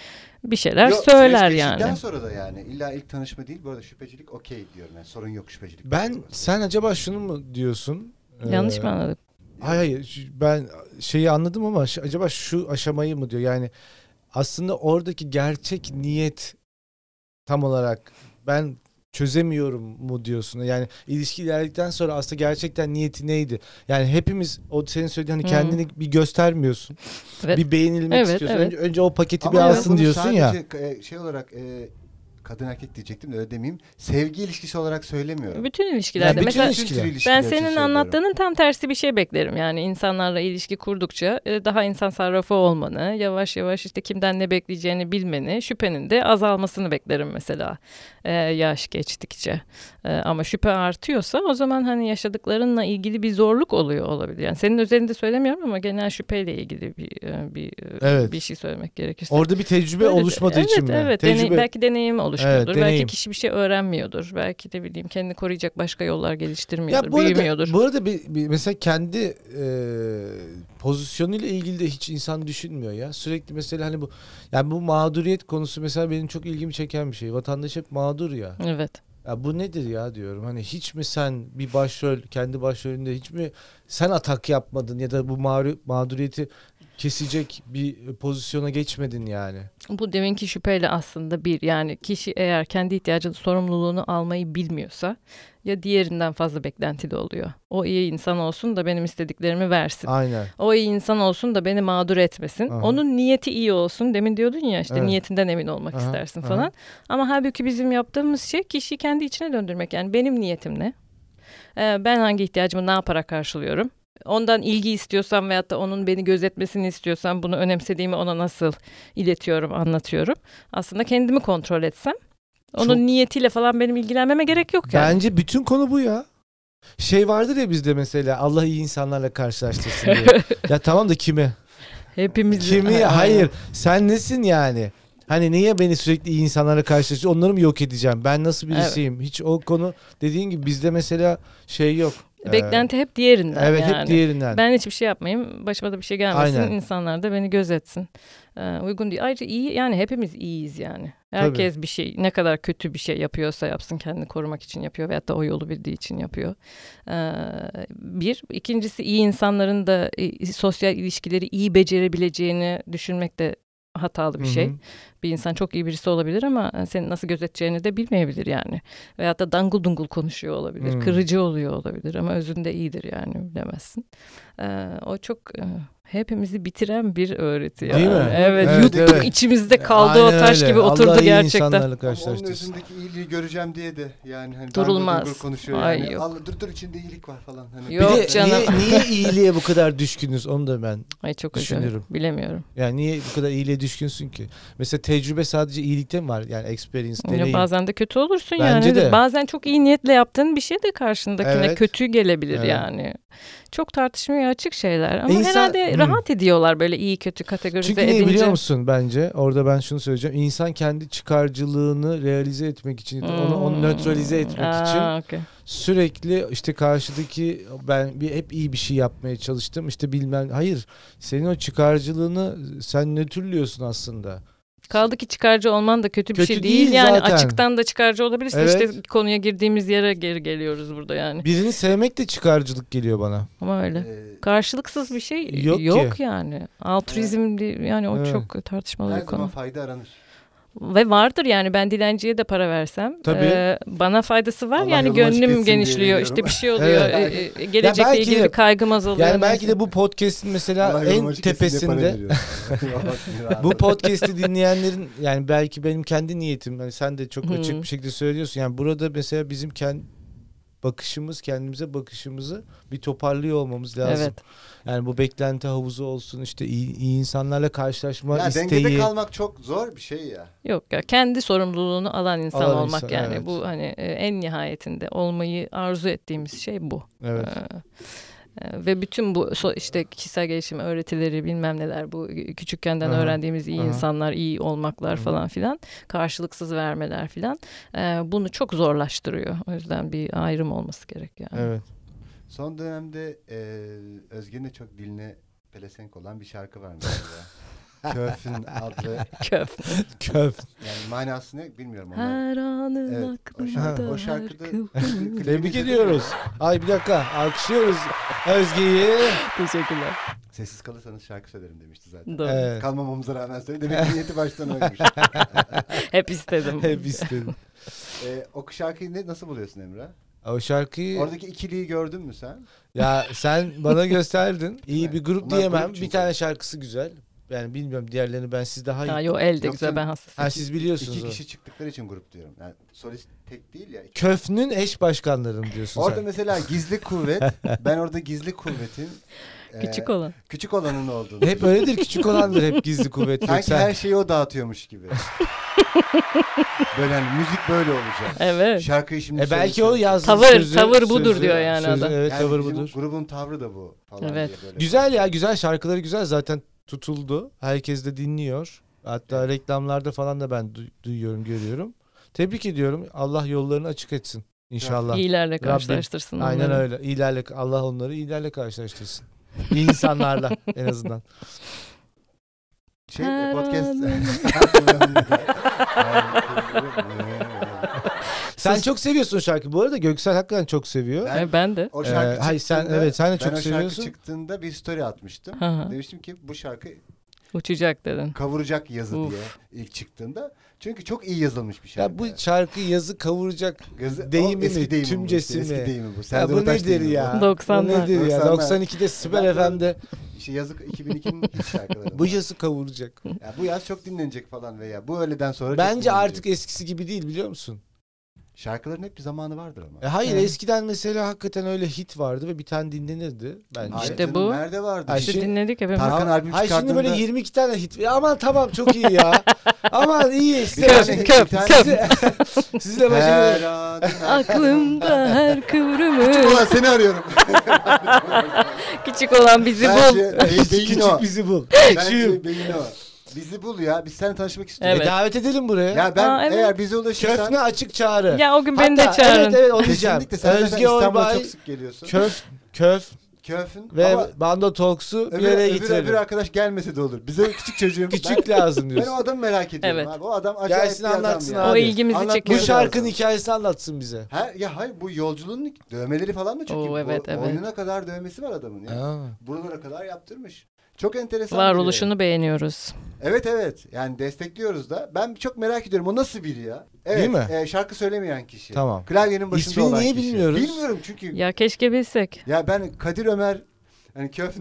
C: bir şeyler
B: Yok,
C: söyler
B: süreç
C: yani.
B: geçtikten sonra da yani illa ilk tanışma değil. Bu arada şüphecilik okey diyorum yani sorun yok şüphecilik.
A: Ben sen acaba şunu mu diyorsun? Ee,
C: Yanlış mı anladım?
A: Hayır hayır Şu- ben şeyi anladım ama ş- acaba şu aşamayı mı diyor? Yani aslında oradaki gerçek niyet tam olarak ben çözemiyorum mu diyorsun? Yani ilişki ilerledikten sonra aslında gerçekten niyeti neydi? Yani hepimiz o senin söylediğin hani
C: Hmm.
A: kendini bir göstermiyorsun.
C: Evet.
A: Bir beğenilmek
C: Evet,
A: istiyorsun.
C: evet.
A: Önce, önce o paketi
B: Ama
A: bir
B: ben
A: alsın
B: bunu
A: diyorsun ya.
B: sadece, e, şey olarak e, kadın erkek diyecektim de öyle demeyeyim. Sevgi ilişkisi olarak söylemiyorum.
C: Bütün
A: Yani
C: ilişkilerde
A: bütün
C: mesela
A: ilişkiler.
B: tür
A: Ben
B: ilişkiler
C: ben
B: için
C: şey senin
B: söylüyorum.
C: anlattığının tam tersi bir şey beklerim. Yani insanlarla ilişki kurdukça e, daha insan sarrafı olmanı, yavaş yavaş işte kimden ne bekleyeceğini bilmeni, şüphenin de azalmasını beklerim mesela e, yaş geçtikçe. E, ama şüphe artıyorsa o zaman hani yaşadıklarınla ilgili bir zorluk oluyor olabilir. Yani senin özelinde söylemiyorum ama genel şüpheyle ilgili bir e, bir e,
A: Evet.
C: bir şey söylemek gerekirse.
A: Orada bir tecrübe
C: Öyle de-
A: oluşmadığı
C: evet,
A: için mi?
C: Evet, Hani deney-
A: tecrübe.
C: belki deneyim oluşmuyordur.
A: deneyim.
C: Belki kişi bir şey öğrenmiyordur. Belki de bileyim kendini koruyacak başka yollar geliştirmiyordur,
A: Ya bu arada,
C: büyümüyordur.
A: bu arada bir, bir mesela kendi e, pozisyonuyla ilgili de hiç insan düşünmüyor ya. Sürekli mesela hani bu yani bu mağduriyet konusu mesela benim çok ilgimi çeken bir şey. Vatandaş hep mağdur ya.
C: Evet.
A: Ya bu nedir ya diyorum. Hani hiç mi sen bir başrol kendi başrolünde hiç mi sen atak yapmadın ya da bu mağru- mağduriyeti kesecek bir pozisyona geçmedin yani.
C: Bu deminki şüpheyle aslında bir yani kişi eğer kendi ihtiyacının sorumluluğunu almayı bilmiyorsa ya diğerinden fazla beklenti de oluyor. O iyi insan olsun da benim istediklerimi versin.
A: Aynen.
C: O iyi insan olsun da beni mağdur etmesin.
A: Aha.
C: Onun niyeti iyi olsun. Demin diyordun ya işte
A: Evet.
C: niyetinden emin olmak
A: Aha,
C: istersin
A: aha.
C: falan. Ama halbuki bizim yaptığımız şey kişiyi kendi içine döndürmek. Yani benim niyetim ne? Ee, ben hangi ihtiyacımı ne yaparak karşılıyorum? Ondan ilgi istiyorsam veyahut da onun beni gözetmesini istiyorsam bunu önemsediğimi ona nasıl iletiyorum, anlatıyorum. Aslında kendimi kontrol etsem onun
A: Çok-
C: niyetiyle falan benim ilgilenmeme gerek yok yani.
A: Bence bütün konu bu ya. Şey vardır ya bizde mesela Allah iyi insanlarla karşılaştırsın diye.
C: [laughs]
A: ya tamam da kimi?
C: Hepimiz
A: Kimi?
C: Aynen.
A: Hayır. Sen nesin yani? Hani niye beni sürekli iyi insanlara karşılaştırıyorsun? Onları mı yok edeceğim? Ben nasıl
C: Evet.
A: birisiyim? Hiç o konu dediğin gibi bizde mesela şey yok. Ee,
C: Beklenti hep diğerinden
A: Evet
C: yani.
A: hep diğerinden.
C: Ben hiçbir şey yapmayayım. Başıma da bir şey gelmesin.
A: Aynen.
C: İnsanlar da beni gözetsin. Ee, uygun değil. Ayrıca iyi yani hepimiz iyiyiz yani. Herkes bir şey ne kadar kötü bir şey yapıyorsa yapsın kendini korumak için yapıyor veyahut da o yolu bildiği için yapıyor. Ee, bir. İkincisi iyi insanların da e, sosyal ilişkileri iyi becerebileceğini düşünmek de hatalı bir
A: Hı hı.
C: şey. Bir insan çok iyi birisi olabilir ama e, seni nasıl gözeteceğini de bilmeyebilir yani. Veyahut da dangıl dungul konuşuyor olabilir.
A: Hmm.
C: Kırıcı oluyor olabilir ama özünde iyidir yani bilemezsin. Ee, o çok e, hepimizi bitiren bir öğreti.
A: Değil
C: yani.
A: mi?
C: Evet,
A: Evet,
C: yuttuk
A: evet.
C: içimizde kaldı
A: Aynen
C: o taş
A: öyle.
C: gibi oturdu
A: Allah iyi
C: gerçekten.
A: insanlarla
B: Ama onun
A: karşılaştırsın.
B: özündeki iyiliği göreceğim diye de yani hani
C: Durulmaz.
B: Durulmaz. konuşuyor
C: Ay
B: yani.
C: yok.
B: Allah, dur dur içinde iyilik var falan. Hani
A: Bir
C: Yok
A: de
C: canım.
A: niye, niye iyiliğe bu kadar düşkünüz onu da ben.
C: Ay çok acayip.
A: Düşünürüm.
C: Bilemiyorum.
A: Yani niye bu kadar iyiliğe düşkünsün ki? Mesela tecrübe sadece iyilikte mi var? Yani experience,
C: Ya
A: deneyim.
C: bazen de kötü olursun
A: Bence
C: yani. Hani
A: de.
C: Bazen çok iyi niyetle yaptığın bir şey de karşındakine
A: Evet.
C: kötü gelebilir
A: Evet.
C: yani. Çok tartışmaya açık şeyler ama
A: İnsan-
C: herhalde
A: Hmm.
C: rahat ediyorlar böyle iyi kötü kategorize
A: Çünkü
C: edince.
A: niye biliyor musun bence? Orada ben şunu söyleyeceğim. İnsan kendi çıkarcılığını realize etmek için, onu, onu
C: Hmm.
A: nötralize etmek için
C: Aa, okey.
A: sürekli işte karşıdaki ben bir hep iyi bir şey yapmaya çalıştım. İşte bilmem hayır. Senin o çıkarcılığını sen nötrlüyorsun
C: [laughs]
A: aslında.
C: Kaldı ki çıkarcı olman da kötü, bir
A: Kötü
C: şey değil,
A: değil
C: yani
A: zaten.
C: açıktan da çıkarcı olabilirsin.
A: Evet.
C: İşte konuya girdiğimiz yere geri geliyoruz burada yani.
A: Birini sevmek de çıkarcılık geliyor bana.
C: Ama öyle.
B: e,
C: Karşılıksız bir şey
A: Yok
C: yok,
A: ki.
C: yani. Altruizm di- yani o
A: Evet.
C: çok tartışmalı
B: her
C: bir konu.
B: zaman fayda aranır.
C: Ve vardır yani ben dilenciye de para versem
A: Tabii.
C: e, bana faydası var
B: Allah
C: yani
B: yolunu açık
C: gönlüm
B: etsin diye
C: genişliyor. İşte
B: diyorum.
C: bir şey oluyor.
A: Evet.
C: E, e, gelecekle
A: belki
C: ilgili
A: de-
C: bir kaygım azalıyor.
A: Yani belki
C: neyse.
A: de bu podcast'in mesela
B: Allah yoluma
A: en
B: açık etsin diye para
A: tepesinde [laughs]
B: [laughs] veriyorum.
A: bu podcast'i dinleyenlerin yani belki benim kendi niyetim hani sen de çok
C: Hmm.
A: açık bir şekilde söylüyorsun. Yani burada mesela bizim kendi bakışımız kendimize bakışımızı bir toparlıyor olmamız lazım.
C: Evet.
A: Yani bu beklenti havuzu olsun işte iyi, iyi insanlarla karşılaşma
B: ya dengede
A: isteği.
B: kalmak çok zor bir şey ya.
C: Yok ya kendi sorumluluğunu alan insan
A: Alan
C: olmak
A: insan,
C: yani
A: evet.
C: bu hani e, en nihayetinde olmayı arzu ettiğimiz şey bu.
A: evet.
C: Ee, e, Ve bütün bu so- işte kişisel gelişim öğretileri bilmem neler bu küçükkenden
A: Aha,
C: öğrendiğimiz iyi
A: aha.
C: insanlar iyi olmaklar
A: Hı hı.
C: falan filan karşılıksız vermeler filan e, bunu çok zorlaştırıyor. O yüzden bir ayrım olması gerek yani.
B: [laughs]
A: Evet.
B: Son dönemde e, Özge'nin de çok diline pelesenk olan bir şarkı var
A: [laughs]
B: mesela. Köf'ün adlı
C: [laughs] Köf.
A: Köf.
B: yani manasını bilmiyorum ama.
C: Her anın
B: Evet, o
C: aklımda
B: şarkı- o
C: her
B: şarkıda- [laughs]
C: kıvrım.
A: Tebrik ediyoruz. Ay bir dakika. Alkışlıyoruz Özge'yi.
C: [laughs] Teşekkürler.
B: Sessiz kalırsanız şarkı söylerim demişti zaten.
C: Doğru.
A: Evet.
B: Kalmamamıza rağmen söyledi. Demek
A: [laughs]
B: ki niyeti baştan oymuş.
C: Hep istedim.
A: Hep istedim.
B: e, o şarkıyı ne, nasıl buluyorsun Emre?
A: O şarkıyı
B: Oradaki ikiliyi gördün mü sen?
A: ya sen bana gösterdin. İyi bir
B: Evet.
A: grup
B: Bunlar
A: diyemem.
B: grup çünkü.
A: bir tane şarkısı güzel. Yani bilmiyorum diğerlerini ben siz daha iyi.
C: Ha, yo el de
B: Yok
C: güzel
B: canım.
C: ben hassasım.
A: Ha, siz biliyorsunuz.
B: İki
A: o.
B: kişi çıktıkları için grup diyorum. Yani solist tek değil ya. iki-
A: Köfnün eş başkanlarını diyorsun
B: Orada
A: sen.
B: mesela
A: [laughs]
B: gizli kuvvet. ben orada gizli kuvvetin
A: şey-
B: e,
C: Küçük
A: Ee,
C: olan.
B: küçük olanın olduğunu.
A: Hep öyledir küçük olandır hep gizli kuvvet.
B: Sanki
A: Sen- E,
B: her şeyi o
A: [laughs]
B: dağıtıyormuş gibi. böyle hani müzik böyle olacak.
C: Evet.
B: Şarkıyı şimdi
A: E belki o
B: söyleyeceğim.
A: yazdı
C: Tavır,
A: sözü-
C: tavır budur
A: sözü-
C: diyor yani
A: sözü,
C: adam.
A: Evet
B: şey Yani
A: tavır
B: bizim
A: budur.
B: Grubun tavrı da bu falan
C: Evet.
B: diye böyle.
A: Güzel ya güzel şarkıları güzel zaten tutuldu. Herkes de dinliyor. Hatta reklamlarda falan da ben du- duyuyorum görüyorum. Tebrik ediyorum. Allah yollarını açık etsin inşallah.
C: İyilerle
A: Rabbim.
C: karşılaştırsın.
A: Aynen
C: onları.
A: öyle. İyilerle Allah onları iyilerle karşılaştırsın. İyi insanlarla en
C: [laughs]
A: azından.
B: Şey e, podcast.
A: Sen çok seviyorsun o şarkıyı. Bu arada Göksel hakikaten çok seviyor.
B: Ben-
A: [laughs]
C: Yani ben de.
B: o
A: Ee, hayır, sen-
B: çıktığında-
A: evet, sen de
B: ben
A: çok
B: o
A: seviyorsun.
B: şarkı çıktığında bir story atmıştım.
C: Hı hı.
B: Demiştim ki bu şarkı
C: Uçacak dedin.
B: kavuracak yazı
C: Uf.
B: diye ilk çıktığında. Çünkü çok iyi yazılmış bir şarkı.
A: Ya bu şarkı yazı kavuracak.
B: Yazı-
A: deyimi
B: o
A: mi,
B: eski deyimi bu
A: tümcesi
B: işte,
A: mi?
B: Eski deyimi bu.
A: Ya
B: Serdar
A: bu
B: Ortaç
A: nedir
B: deyimi
A: ya?
B: bu.
C: 90'lar.
A: Bu nedir ya?
B: 90'lar.
A: 92'de Sibel FM'de
B: İşte yazık 2002'nin ilk şarkıları.
A: bu yazı kavuracak.
B: Ya bu yaz çok dinlenecek falan veya bu öğleden sonra çok
A: Bence
B: dinlenecek.
A: artık eskisi gibi değil biliyor musun?
B: şarkıların hep bir zamanı vardır ama.
A: E hayır
C: Evet.
A: eskiden mesela hakikaten öyle hit vardı ve bir tane dinlenirdi bence.
B: Hayır
C: İşte
B: canım,
C: bu-
B: Nerede vardı?
A: Ay,
C: İşte
A: şimdi-
C: dinledik hepimiz.
B: Tarkan
A: Ha-
B: albüm
A: Hayır şimdi böyle
B: çıkardığında-
A: 22 tane hit. Ya Aman tamam çok iyi
B: [laughs]
A: ya. Aman iyi. Size
C: Köp,
A: başım-
C: köp,
A: size- [laughs] Sizle
B: Her
A: başım.
B: an-
C: Aklımda her kıvrımı.
B: Ulan seni arıyorum.
C: Küçük olan bizi bul.
B: Bence
A: [laughs]
B: be- beyin o.
A: Küçük bizi bul. Küçüğüm.
B: Bence beyin o. Bizi bul ya. Biz seninle tanışmak istiyoruz.
A: E,
C: Evet.
A: davet edelim buraya.
B: Ya ben
C: Aa, evet.
B: eğer bize ulaşırsan
A: Köfne açık çağrı.
C: Ya o gün beni de
A: Hatta-
C: çağırın.
A: Evet evet onu diyeceğim.
B: kesinlikle sen zaten
A: Özge
B: İstanbul'a
A: Orbay,
B: çok sık geliyorsun.
A: Köf, Köf
B: Köfün
A: ve
B: ama
A: Bando Talks'u bir
B: öbür,
A: yere
B: öbür,
A: getirelim.
B: öbür arkadaş gelmese de olur. Bize
A: [laughs]
B: küçük çocuğum.
A: Küçük lazım
B: ben, ben o
A: diyorsun.
B: adamı merak ediyorum
C: Evet.
B: abi. O adam acayip
A: Gelsin
B: bir adam
A: anlatsın
B: ya.
A: abi.
C: O ilgimizi
B: Anlatması
A: Bu
C: çekiyor.
B: lazım.
A: şarkının hikayesini anlatsın bize.
B: Ha, ya hayır bu yolculuğun dövmeleri falan da çok
C: Oo,
B: iyi. Bu-
C: evet, evet.
B: Boynuna kadar dövmesi var adamın ya. Buralara kadar yaptırmış. Çok enteresan. şey. biri.
C: Varoluşunu beğeniyoruz.
B: Evet evet. Yani destekliyoruz da. Ben çok merak ediyorum. O nasıl biri ya? Evet,
A: Değil mi?
B: e, şarkı söylemeyen kişi.
A: Tamam.
B: Klavyenin başında
A: İsmini
B: olan
A: niye
B: kişi.
A: bilmiyoruz?
B: Bilmiyorum çünkü. Ya,
C: Ya keşke bilsek.
B: ben Kadir Ömer hani Köfn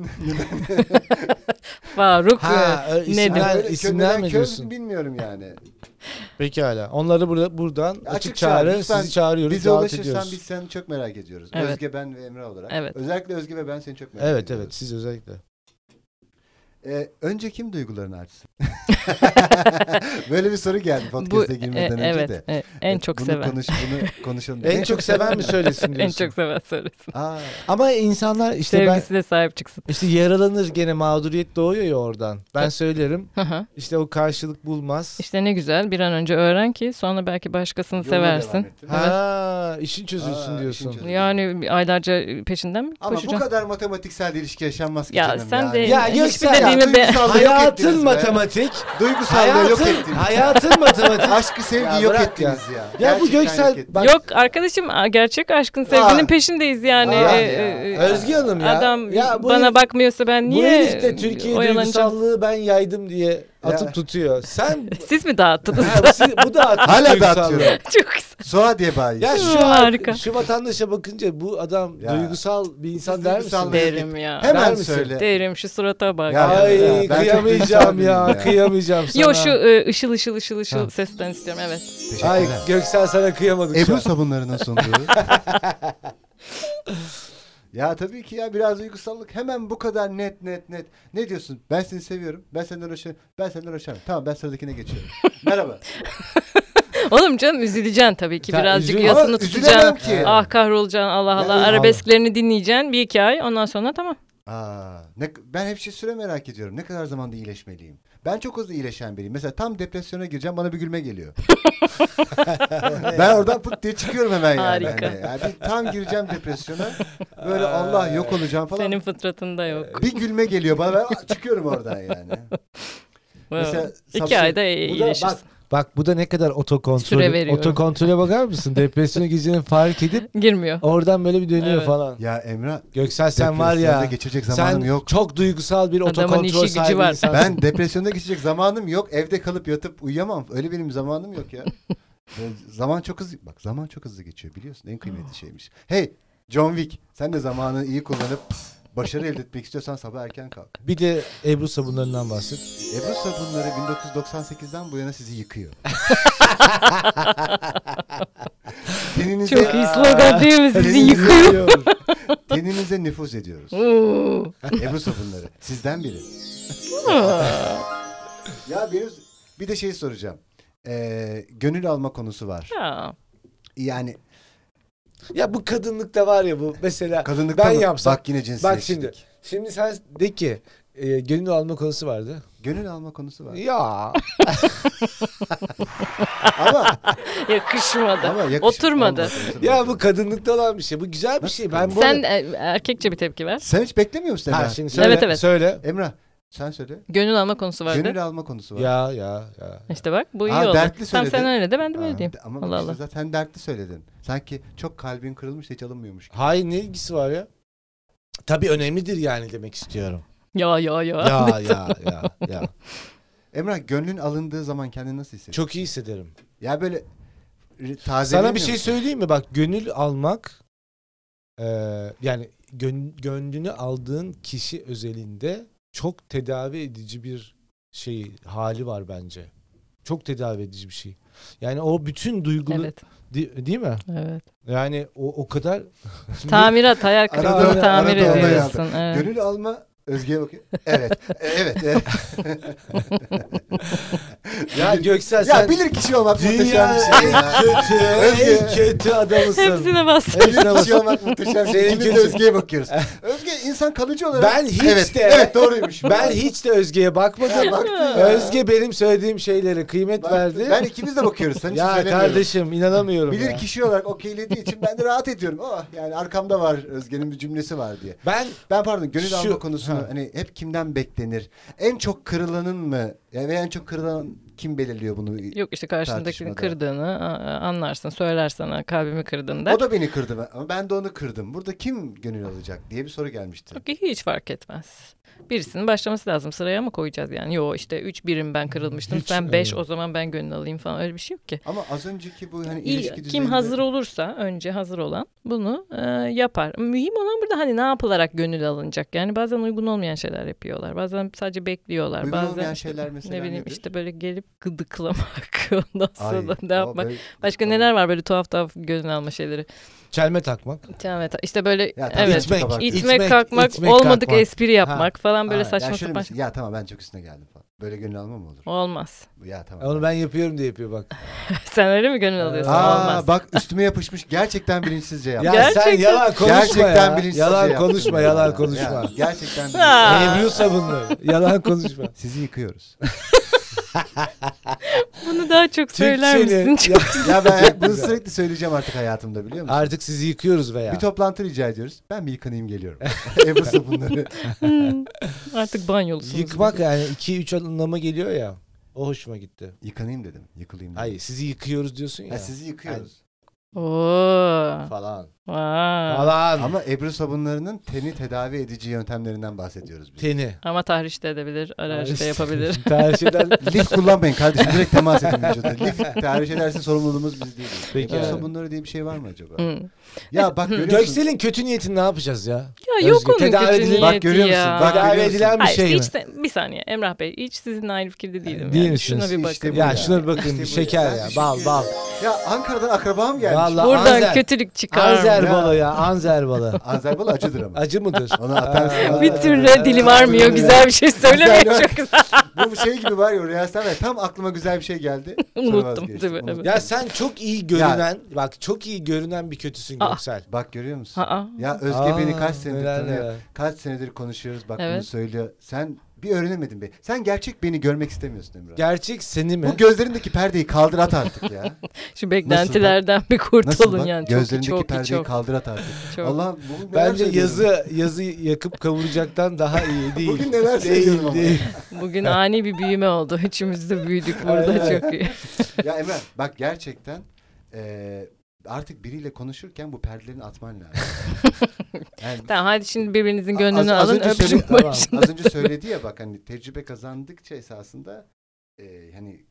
B: [laughs]
C: Faruk.
A: Ha,
C: e,
A: ö- isimler-
C: Nedim.
B: Yani böyle
A: isimler
B: Köfn'den
A: mi
B: Köfn
A: diyorsun?
B: bilmiyorum yani.
A: Pekala. Onları burada buradan açık,
B: Açık
A: çağrı
B: çağrı, lütfen
A: sizi çağırıyoruz,
B: Bize
A: davet
B: ulaşırsan
A: ediyoruz.
B: biz seni çok merak ediyoruz.
C: Evet.
B: Özge ben ve Emre olarak.
C: Evet.
B: Özellikle Özge ve ben seni çok merak
A: Evet evet
B: ediyoruz.
A: siz özellikle.
B: Evet. önce kim duygularını açsın? [laughs] Böyle bir soru geldi podcast'e girmeden
C: e,
B: önce
C: evet,
B: de.
C: e, en çok
B: bunu
C: [laughs] seven.
B: Konuş, bunu
A: [laughs]
B: konuşalım.
A: En çok seven mi söylesin
C: en
A: diyorsun.
C: çok seven söylesin.
B: [laughs] Aa,
A: Ama insanlar işte ben
C: Sevgisine sahip çıksın.
A: işte yaralanır gene mağduriyet doğuyor ya oradan. Ben söylerim.
C: Hı hı.
A: İşte o karşılık bulmaz.
C: İşte ne güzel bir an önce öğren ki sonra belki başkasını
B: yoluna devam
C: seversin.
B: ettim.
A: Ha, işin çözülsün
B: Aa, işin
A: diyorsun.
B: çözülsün.
C: Yani aylarca peşinden mi
B: Ama bu
C: koşacaksın?
B: kadar matematiksel ilişki yaşanmaz ki
C: Ya
B: canım
C: sen
B: yani.
C: de-
A: Ya
C: Hiçbir
A: Göksel
C: dediğimi be-
B: Duygusallığı yok
A: hayatın
B: ettiniz be.
A: matematik.
B: Duygusallığı yok
A: Hayatın
B: ettiniz.
A: hayatın matematik.
B: Aşkı
A: Ya
B: sevgiyi yok
A: bırak
B: ettiniz ya.
A: bu
B: Gerçekten
A: Göksel-
B: yok ettiniz.
A: bak-
C: Yok arkadaşım a- gerçek aşkın sevginin
B: Aa.
C: peşindeyiz yani.
B: Aa,
C: E,
B: ya.
C: e,
A: [laughs]
C: e,
A: Özge Hanım ya.
C: Adam
A: ya bu
C: bana
A: herif-
C: bakmıyorsa ben
A: Bu
C: niye
A: herif de Türkiye
C: oyalanacağım?
A: duygusallığı ben yaydım diye atıp
B: Ya.
A: tutuyor.
C: [laughs]
A: Sen
C: Siz
B: [laughs]
C: mi dağıttınız?
A: Ha, bu, si- bu da atmış
B: Hala da
A: duygusallığı.
B: atıyorum.
C: Çok güzel.
B: Suadiye diye bayi.
A: Ya şu
C: Harika.
A: şu vatandaşa bakınca bu adam
B: Ya.
A: duygusal bir insan der misin?
B: Duygusal-
C: Derim ya.
A: Hep- der
B: Hemen
A: misin?
B: söyle.
C: Derim şu surata bak.
B: Ya,
A: Ay
B: ya, ben çok
A: kıyamayacağım
B: duygusalım
A: ya,
B: ya.
A: kıyamayacağım sana.
C: Yo şu e, ışıl ışıl ışıl ışıl
A: Ha.
C: sesten istiyorum evet.
A: Ay Göksel sana kıyamadık şu
B: Ebru
A: an.
B: sabunlarının sunduğu.
A: [laughs]
B: ya tabii ki ya biraz duygusallık hemen bu kadar net net net. Ne diyorsun? Ben seni seviyorum. Ben senden hoşlanıyorum. Ben senden hoşlanıyorum. Tamam ben sıradakine geçiyorum.
A: [laughs]
B: Merhaba.
C: Oğlum canım üzüleceksin tabii ki
A: Ya,
C: birazcık
A: üzül-
C: yasını
B: Ama
C: tutacaksın.
B: üzülemem ki.
C: Ah kahrolacaksın Allah Allah.
B: Ya,
C: Arabesklerini dinleyeceksin bir iki ay ondan sonra tamam.
B: Aa, ne, ben hep şey süre merak ediyorum. Ne kadar zamanda iyileşmeliyim? Ben çok hızlı iyileşen biriyim. Mesela tam depresyona gireceğim bana bir gülme
C: [laughs]
B: geliyor. [laughs] ben oradan pıt diye çıkıyorum hemen yani.
C: Harika.
B: Hani, yani bir tam gireceğim depresyona. Böyle Allah yok olacağım falan. Ee,
C: Senin fıtratında yok.
B: Bir gülme geliyor bana ben aa, çıkıyorum oradan yani.
C: Mesela,
B: sapsın-
C: iki ayda
B: Bu da
C: iyileşirsin.
B: bak,
A: Bak bu da ne kadar
C: Süre
A: otokontrol.
C: veriyorum.
A: Otokontrole bakar mısın? Depresyona gireceğini fark edip
C: Girmiyor.
A: oradan böyle bir dönüyor
C: Evet.
A: falan.
B: ya Emrah
A: Göksel sen var
B: depresyonda
A: ya.
B: geçecek
A: Sen
B: zamanım yok.
A: çok duygusal bir
C: Adamın işi
A: otokontrol
C: gücü
A: sahibi
C: var.
A: insansın.
B: Ben depresyonda geçecek zamanım yok. Evde kalıp yatıp uyuyamam. Öyle benim zamanım yok
C: [laughs]
B: ya. Ee, zaman çok hızlı. Bak zaman çok hızlı geçiyor biliyorsun. En kıymetli şeymiş. Hey John Wick sen de zamanı iyi kullanıp Başarı elde etmek istiyorsan sabah erken kalk.
A: Bir de Ebru sabunlarından bahset.
B: Ebru sabunları 1998'den bu yana sizi
C: [laughs]
B: yıkıyor. teninize,
C: Çok iyi slogan değil mi?
B: [laughs]
C: Sizi
B: Elinizi
C: yıkıyor.
B: yıkıyoruz. Teninize nüfuz ediyoruz.
C: Oo.
B: [laughs] Ebru sabunları.
A: [laughs]
B: Sizden biri. ya benim bir de şey soracağım. Ee, gönül alma konusu var.
C: Ya.
B: Yani
A: Ya bu kadınlıkta var ya bu mesela
B: kadınlıkta
A: ben
B: mı?
A: yapsam. Bak,
B: Bak yine cinsiyetçilik.
A: şimdi. Şimdi sen de ki e, gönül alma konusu vardı.
B: Gönül alma
A: [laughs]
B: konusu var.
A: Ya
B: ama
C: Yakışmadı.
B: ama yakışık
C: Oturmadı.
B: olmadı, oturmadı.
A: ya bu kadınlıkta olan bir şey. Bu güzel bir şey. Ben bu
C: Sen e, erkekçe bir tepki ver.
B: Sen hiç beklemiyor musun
A: Ha,
B: Emrah?
A: şimdi söyle,
C: Evet, evet.
A: söyle.
B: Emrah sen söyle.
C: Gönül alma konusu vardı.
B: Gönül alma konusu var.
A: Ya ya ya.
C: İşte bak bu iyi
B: Ha,
C: oldu.
B: dertli
C: Tam
B: söyledin.
C: sen öyle de ben de böyle
B: Aa,
C: diyeyim.
B: de- Ama
C: Allah
B: işte
C: Allah.
B: zaten dertli söyledin. Sanki çok kalbin kırılmış da hiç alınmıyormuş. gibi.
A: Hayır ne ilgisi var ya? Tabii önemlidir yani demek istiyorum.
C: Ya ya ya.
A: Ya ya ya ya.
B: Emrah gönlün alındığı zaman kendini nasıl hissediyorsun?
A: Çok iyi hissederim.
B: Ya böyle e, taze
A: Sana bir şey söyleyeyim mi? Bak gönül almak e, yani gön- gönlünü aldığın kişi özelinde çok tedavi edici bir şey hali var bence. Çok tedavi edici bir şey. Yani o bütün duygulu
C: Evet.
A: Di- değil mi?
C: Evet.
A: Yani o o kadar [laughs]
C: Tamirat hayal
B: Arada-
C: kırıklığını tamir
B: arada ona
C: ediyorsun. Evet.
B: Gönül alma Özge'ye bakıyor. Evet.
A: [laughs]
B: E, evet. evet.
A: ya Göksel sen
B: ya bilir kişi olmak muhteşem
A: dünya
B: bir
A: en [laughs]
B: şey ya.
A: kötü
B: [laughs]
A: en kötü adamısın.
C: Hepsine bas.
A: Hepsine
B: Bilir kişi
A: bak.
B: olmak muhteşem. bir şey.
A: Senin
B: İkimiz de
A: gözün-
B: Özge'ye bakıyoruz. Özge insan kalıcı olarak.
A: Ben hiç
B: evet,
A: de-
B: Evet doğruymuş.
A: Ben hiç de Özge'ye bakmadım.
B: baktın ya.
A: Özge benim söylediğim şeylere kıymet
B: Bak,
A: verdi.
B: Ben ikimiz de bakıyoruz. Sen hiç
A: ya
B: söylemiyorum.
A: kardeşim inanamıyorum.
B: Bilir
A: ya.
B: kişi olarak okeylediği için ben de rahat ediyorum. Oh, yani arkamda var Özge'nin bir cümlesi var diye.
A: Ben
B: Ben pardon gönül
A: Şu-
B: alma konusunu
A: ha.
B: hani hep kimden beklenir? En çok kırılanın mı? Yani en çok kırılan kim belirliyor bunu?
C: Yok işte karşındakini
B: Tartışmada.
C: kırdığını a- a- anlarsın. Söyler sana kalbimi kırdın der.
B: O da beni kırdı ben- ama ben de onu kırdım. Burada kim gönül alacak diye bir soru gelmişti.
C: Yok, hiç fark etmez. Birisinin başlaması lazım. Sıraya mı koyacağız yani? Yo işte 3 birim ben kırılmıştım.
A: Hiç,
C: sen 5
A: evet.
C: o zaman ben gönül alayım falan öyle bir şey yok ki.
B: Ama az önceki bu hani
C: İl-
B: ilişki
C: kim
B: düzeyinde-
C: hazır olursa önce hazır olan bunu e, yapar. Mühim olan burada hani ne yapılarak gönül alınacak. Yani bazen uygun olmayan şeyler yapıyorlar. Bazen sadece bekliyorlar.
B: Uygun
C: bazen
B: olmayan
C: işte
B: şeyler mesela
C: [laughs] ne bileyim
B: nedir?
C: işte böyle gelip gıdıklamak [laughs] ondan
B: Ay,
C: sonra ne
B: o
C: yapmak.
B: böyle- şey
C: Başka neler var böyle tuhaf tuhaf gönül alma şeyleri.
A: çelme takmak.
C: Tamam, evet. işte böyle
B: Ya, tabii
C: evet.
B: ki
A: İtmek,
B: kabak.
A: it-
C: İtmek,
A: İtmek,
C: kalkmak,
A: itmek,
C: olmadık
A: kalkmak.
C: espri yapmak falan böyle
B: Ha,
C: saçma
B: ya şöyle şey.
C: sapan.
B: mesela, Ya tamam ben çok üstüne geldim falan. Böyle gönül alma mı olur?
C: Olmaz. [laughs]
B: Ya tamam.
A: Onu ben yapıyorum diye yapıyor bak.
C: Sen öyle mi gönül alıyorsun?
B: Ee, Aa,
C: Olmaz.
B: bak üstüme yapışmış gerçekten bilinçsizce yaptım.
A: Ya sen
C: [laughs] Gerçekten-
A: yalan konuşma ya.
B: gerçekten bilinçsizce
A: Yalan
B: yaptım
A: konuşma,
B: ya.
A: yalan
B: Ya,
A: konuşma.
B: gerçekten
C: [laughs]
B: bilinçsizce.
C: Aa.
A: Ebru sabunları. Yalan konuşma.
B: Sizi yıkıyoruz.
C: Bunu daha çok söyler
A: Türkçenin-
C: misin? [laughs] Çok-
A: [laughs]
B: ya ben bunu
A: güzel.
B: sürekli söyleyeceğim artık hayatımda biliyor musun?
A: Artık sizi yıkıyoruz veya.
B: Bir toplantı rica ediyoruz. Ben bir
A: [laughs]
B: yıkanayım geliyorum. [laughs] Ebru sabunları.
C: Hmm. Artık banyolusunuz.
A: Yıkmak yani 2-3 anlama geliyor ya. O hoşuma gitti.
B: Yıkanayım dedim. Yıkılayım dedim.
A: Hayır sizi yıkıyoruz diyorsun ya.
B: Ha, sizi yıkıyoruz.
C: Oo.
A: Falan.
C: Aa.
A: Falan.
B: Ama Ebru sabunlarının teni tedavi edici yöntemlerinden bahsediyoruz biz.
A: Teni.
C: Ama tahriş de edebilir, alerji de
A: [laughs]
B: [laughs]
C: şey yapabilir.
A: Tercih eden
B: Lif kullanmayın kardeşim. Direkt temas edin vücuda. Lif tarih ederse sorumluluğumuz biz değiliz.
A: Peki
B: Ebru
A: abi.
B: sabunları diye bir şey var mı acaba?
C: Hmm.
B: Ya bak görüyor musun?
A: Göksel'in kötü niyetini ne yapacağız ya?
C: Ya yok
A: Özge,
C: onun
A: tedavi
C: gücü
A: edilir-
C: niyeti
B: Bak görüyor musun?
C: ya.
B: Bak
A: Tedavi
B: görüyor
A: edilen bir
C: Hayır,
A: şey mi?
C: hiç de- bir saniye Emrah Bey hiç sizinle aynı fikirde değilim.
A: Değil
C: yani.
A: misiniz?
C: Şuna bir bakın.
B: İşte bu
A: Ya
B: ya.
A: şuna bir bakın
B: İşte bu
A: şeker
B: ya.
A: ya.
B: Ben
A: Bal
B: teşekkür
A: bal.
B: Ya Ankara'dan akrabam gelmiş.
A: Vallahi
C: Buradan
A: Anzer-
C: kötülük çıkar mı?
A: Anzer balı ya. Anzer balı.
B: Anzer Bala acıdır
A: [laughs]
B: ama.
A: Acı mıdır? Ee,
B: Ona atarsın.
A: Aa,
C: Bir türlü dili varmıyor.
B: Anzer-
C: Güzel bir şey
B: Güzel,
C: söylemeye
B: [laughs]
C: çok güzel.
B: Bu şey gibi var ya Rüya Sever. Tam aklıma güzel bir şey
C: [laughs]
B: geldi. Sonra
C: Unuttum,
B: vazgeçtim,
C: değil mi?
B: unuttum.
A: Ya sen çok iyi görünen, bak çok iyi görünen bir kötüsün
C: Aa.
A: Göksel.
B: Bak görüyor musun?
C: Aa.
B: Ya Özge
A: Aa,
B: beni kaç senedir
A: neler
B: tanıyor.
A: neler.
B: Kaç senedir konuşuyoruz bak bunu
C: Evet.
B: söylüyor. Sen bir öğrenemedin be. Sen gerçek beni görmek istemiyorsun Emrah.
A: Gerçek seni mi?
B: Bu gözlerindeki perdeyi kaldır at artık ya.
C: Şu beklentilerden bir [laughs] kurtulun
B: Nasıl bak?
C: yani. Çok,
B: gözlerindeki
C: çok,
B: perdeyi
C: çok.
B: kaldır at artık.
C: Çok.
B: Allah bugün neler
A: Bence
B: söylüyorum?
A: yazı yazı yakıp kavuracaktan daha iyi değil.
B: Bugün neler söylüyorum
A: değil,
B: ama.
A: değil. [laughs]
C: Bugün ani bir büyüme oldu. Üçümüz de büyüdük burada çok iyi. [laughs]
B: Ya Emrah bak gerçekten eee, artık biriyle konuşurken bu perdelerini atman
A: [laughs]
B: lazım. Yani
C: Tamam hadi şimdi birbirinizin
B: A- az-
C: gönlünü
B: az
C: alın
B: önce
C: öpüşün
B: söyle-
A: tamam.
C: başında.
B: az önce söyledi ya bak hani tecrübe kazandıkça esasında e, hani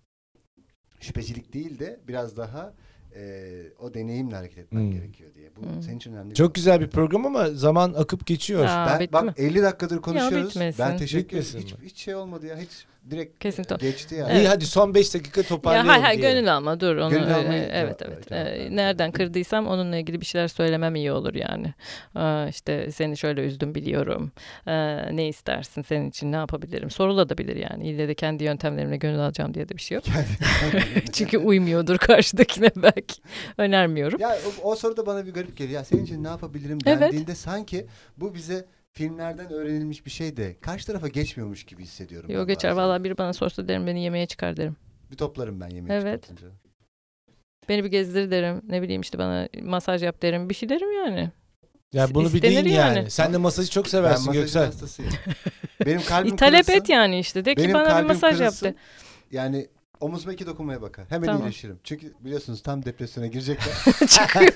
B: şüphecilik değil de biraz daha e, o deneyimle hareket etmen
A: Hmm.
B: gerekiyor diye. Bu
C: Hmm.
B: senin için önemli. bir
A: Çok
B: konu.
A: güzel bir program ama zaman akıp geçiyor.
C: Ya. Aa,
B: Ben,
C: bitti
B: bak
C: mi?
B: 50 dakikadır konuşuyoruz.
C: bitmesin.
B: ben teşekkür
A: Bitmesin
B: ederim. Hiç, hiç şey olmadı ya. Hiç direkt
C: Kesin to-
B: geçti yani. [laughs]
A: İyi hadi son 5 dakika
C: Ya
A: toparlayalım
C: hayır hayır
A: diye.
C: gönül alma dur onu.
B: Gönül almayı-
C: e, evet
B: Tamam,
C: evet.
B: tamam,
C: E,
B: tamam.
C: nereden kırdıysam onunla ilgili bir şeyler söylemem iyi olur yani. Aa, işte seni şöyle üzdüm biliyorum. Ee, ne istersin senin için ne yapabilirim? Sorulabilir yani. İlle de kendi yöntemlerimle gönül alacağım diye de bir şey yok. Çünkü uymuyordur [laughs] karşıdakine belki. Önermiyorum.
B: Ya o, o soru da bana bir garip geliyor. Ya senin için ne yapabilirim
C: Evet.
B: dendiğinde sanki bu bize filmlerden öğrenilmiş bir şey de karşı tarafa geçmiyormuş gibi hissediyorum.
C: Yo
B: ben
C: geçer
B: bazen.
C: valla biri bana sorsa derim beni yemeğe çıkar derim.
B: Bir toplarım ben yemeği
C: Evet.
B: çıkartınca.
C: Beni bir gezdir derim. Ne bileyim işte bana masaj yap derim. Bir şey derim yani.
A: Ya bunu bir
C: İstenir
A: deyin yani.
C: yani.
A: Sen de masajı çok
B: Ben
A: seversin
B: masajın
A: Göksel.
C: [laughs]
B: hastasıyım. Benim kalbim
C: talep
B: kırılsın,
C: et yani işte. De ki
B: benim
C: bana bir
B: kalbim
C: masaj yap
B: kırılsın.
C: de.
B: Yani omuzuma iki dokunmaya bakar. Hemen
C: Tamam.
B: iyileşirim. Çünkü biliyorsunuz tam depresyona
C: [laughs]
B: girecekler.
C: Çıkıyor.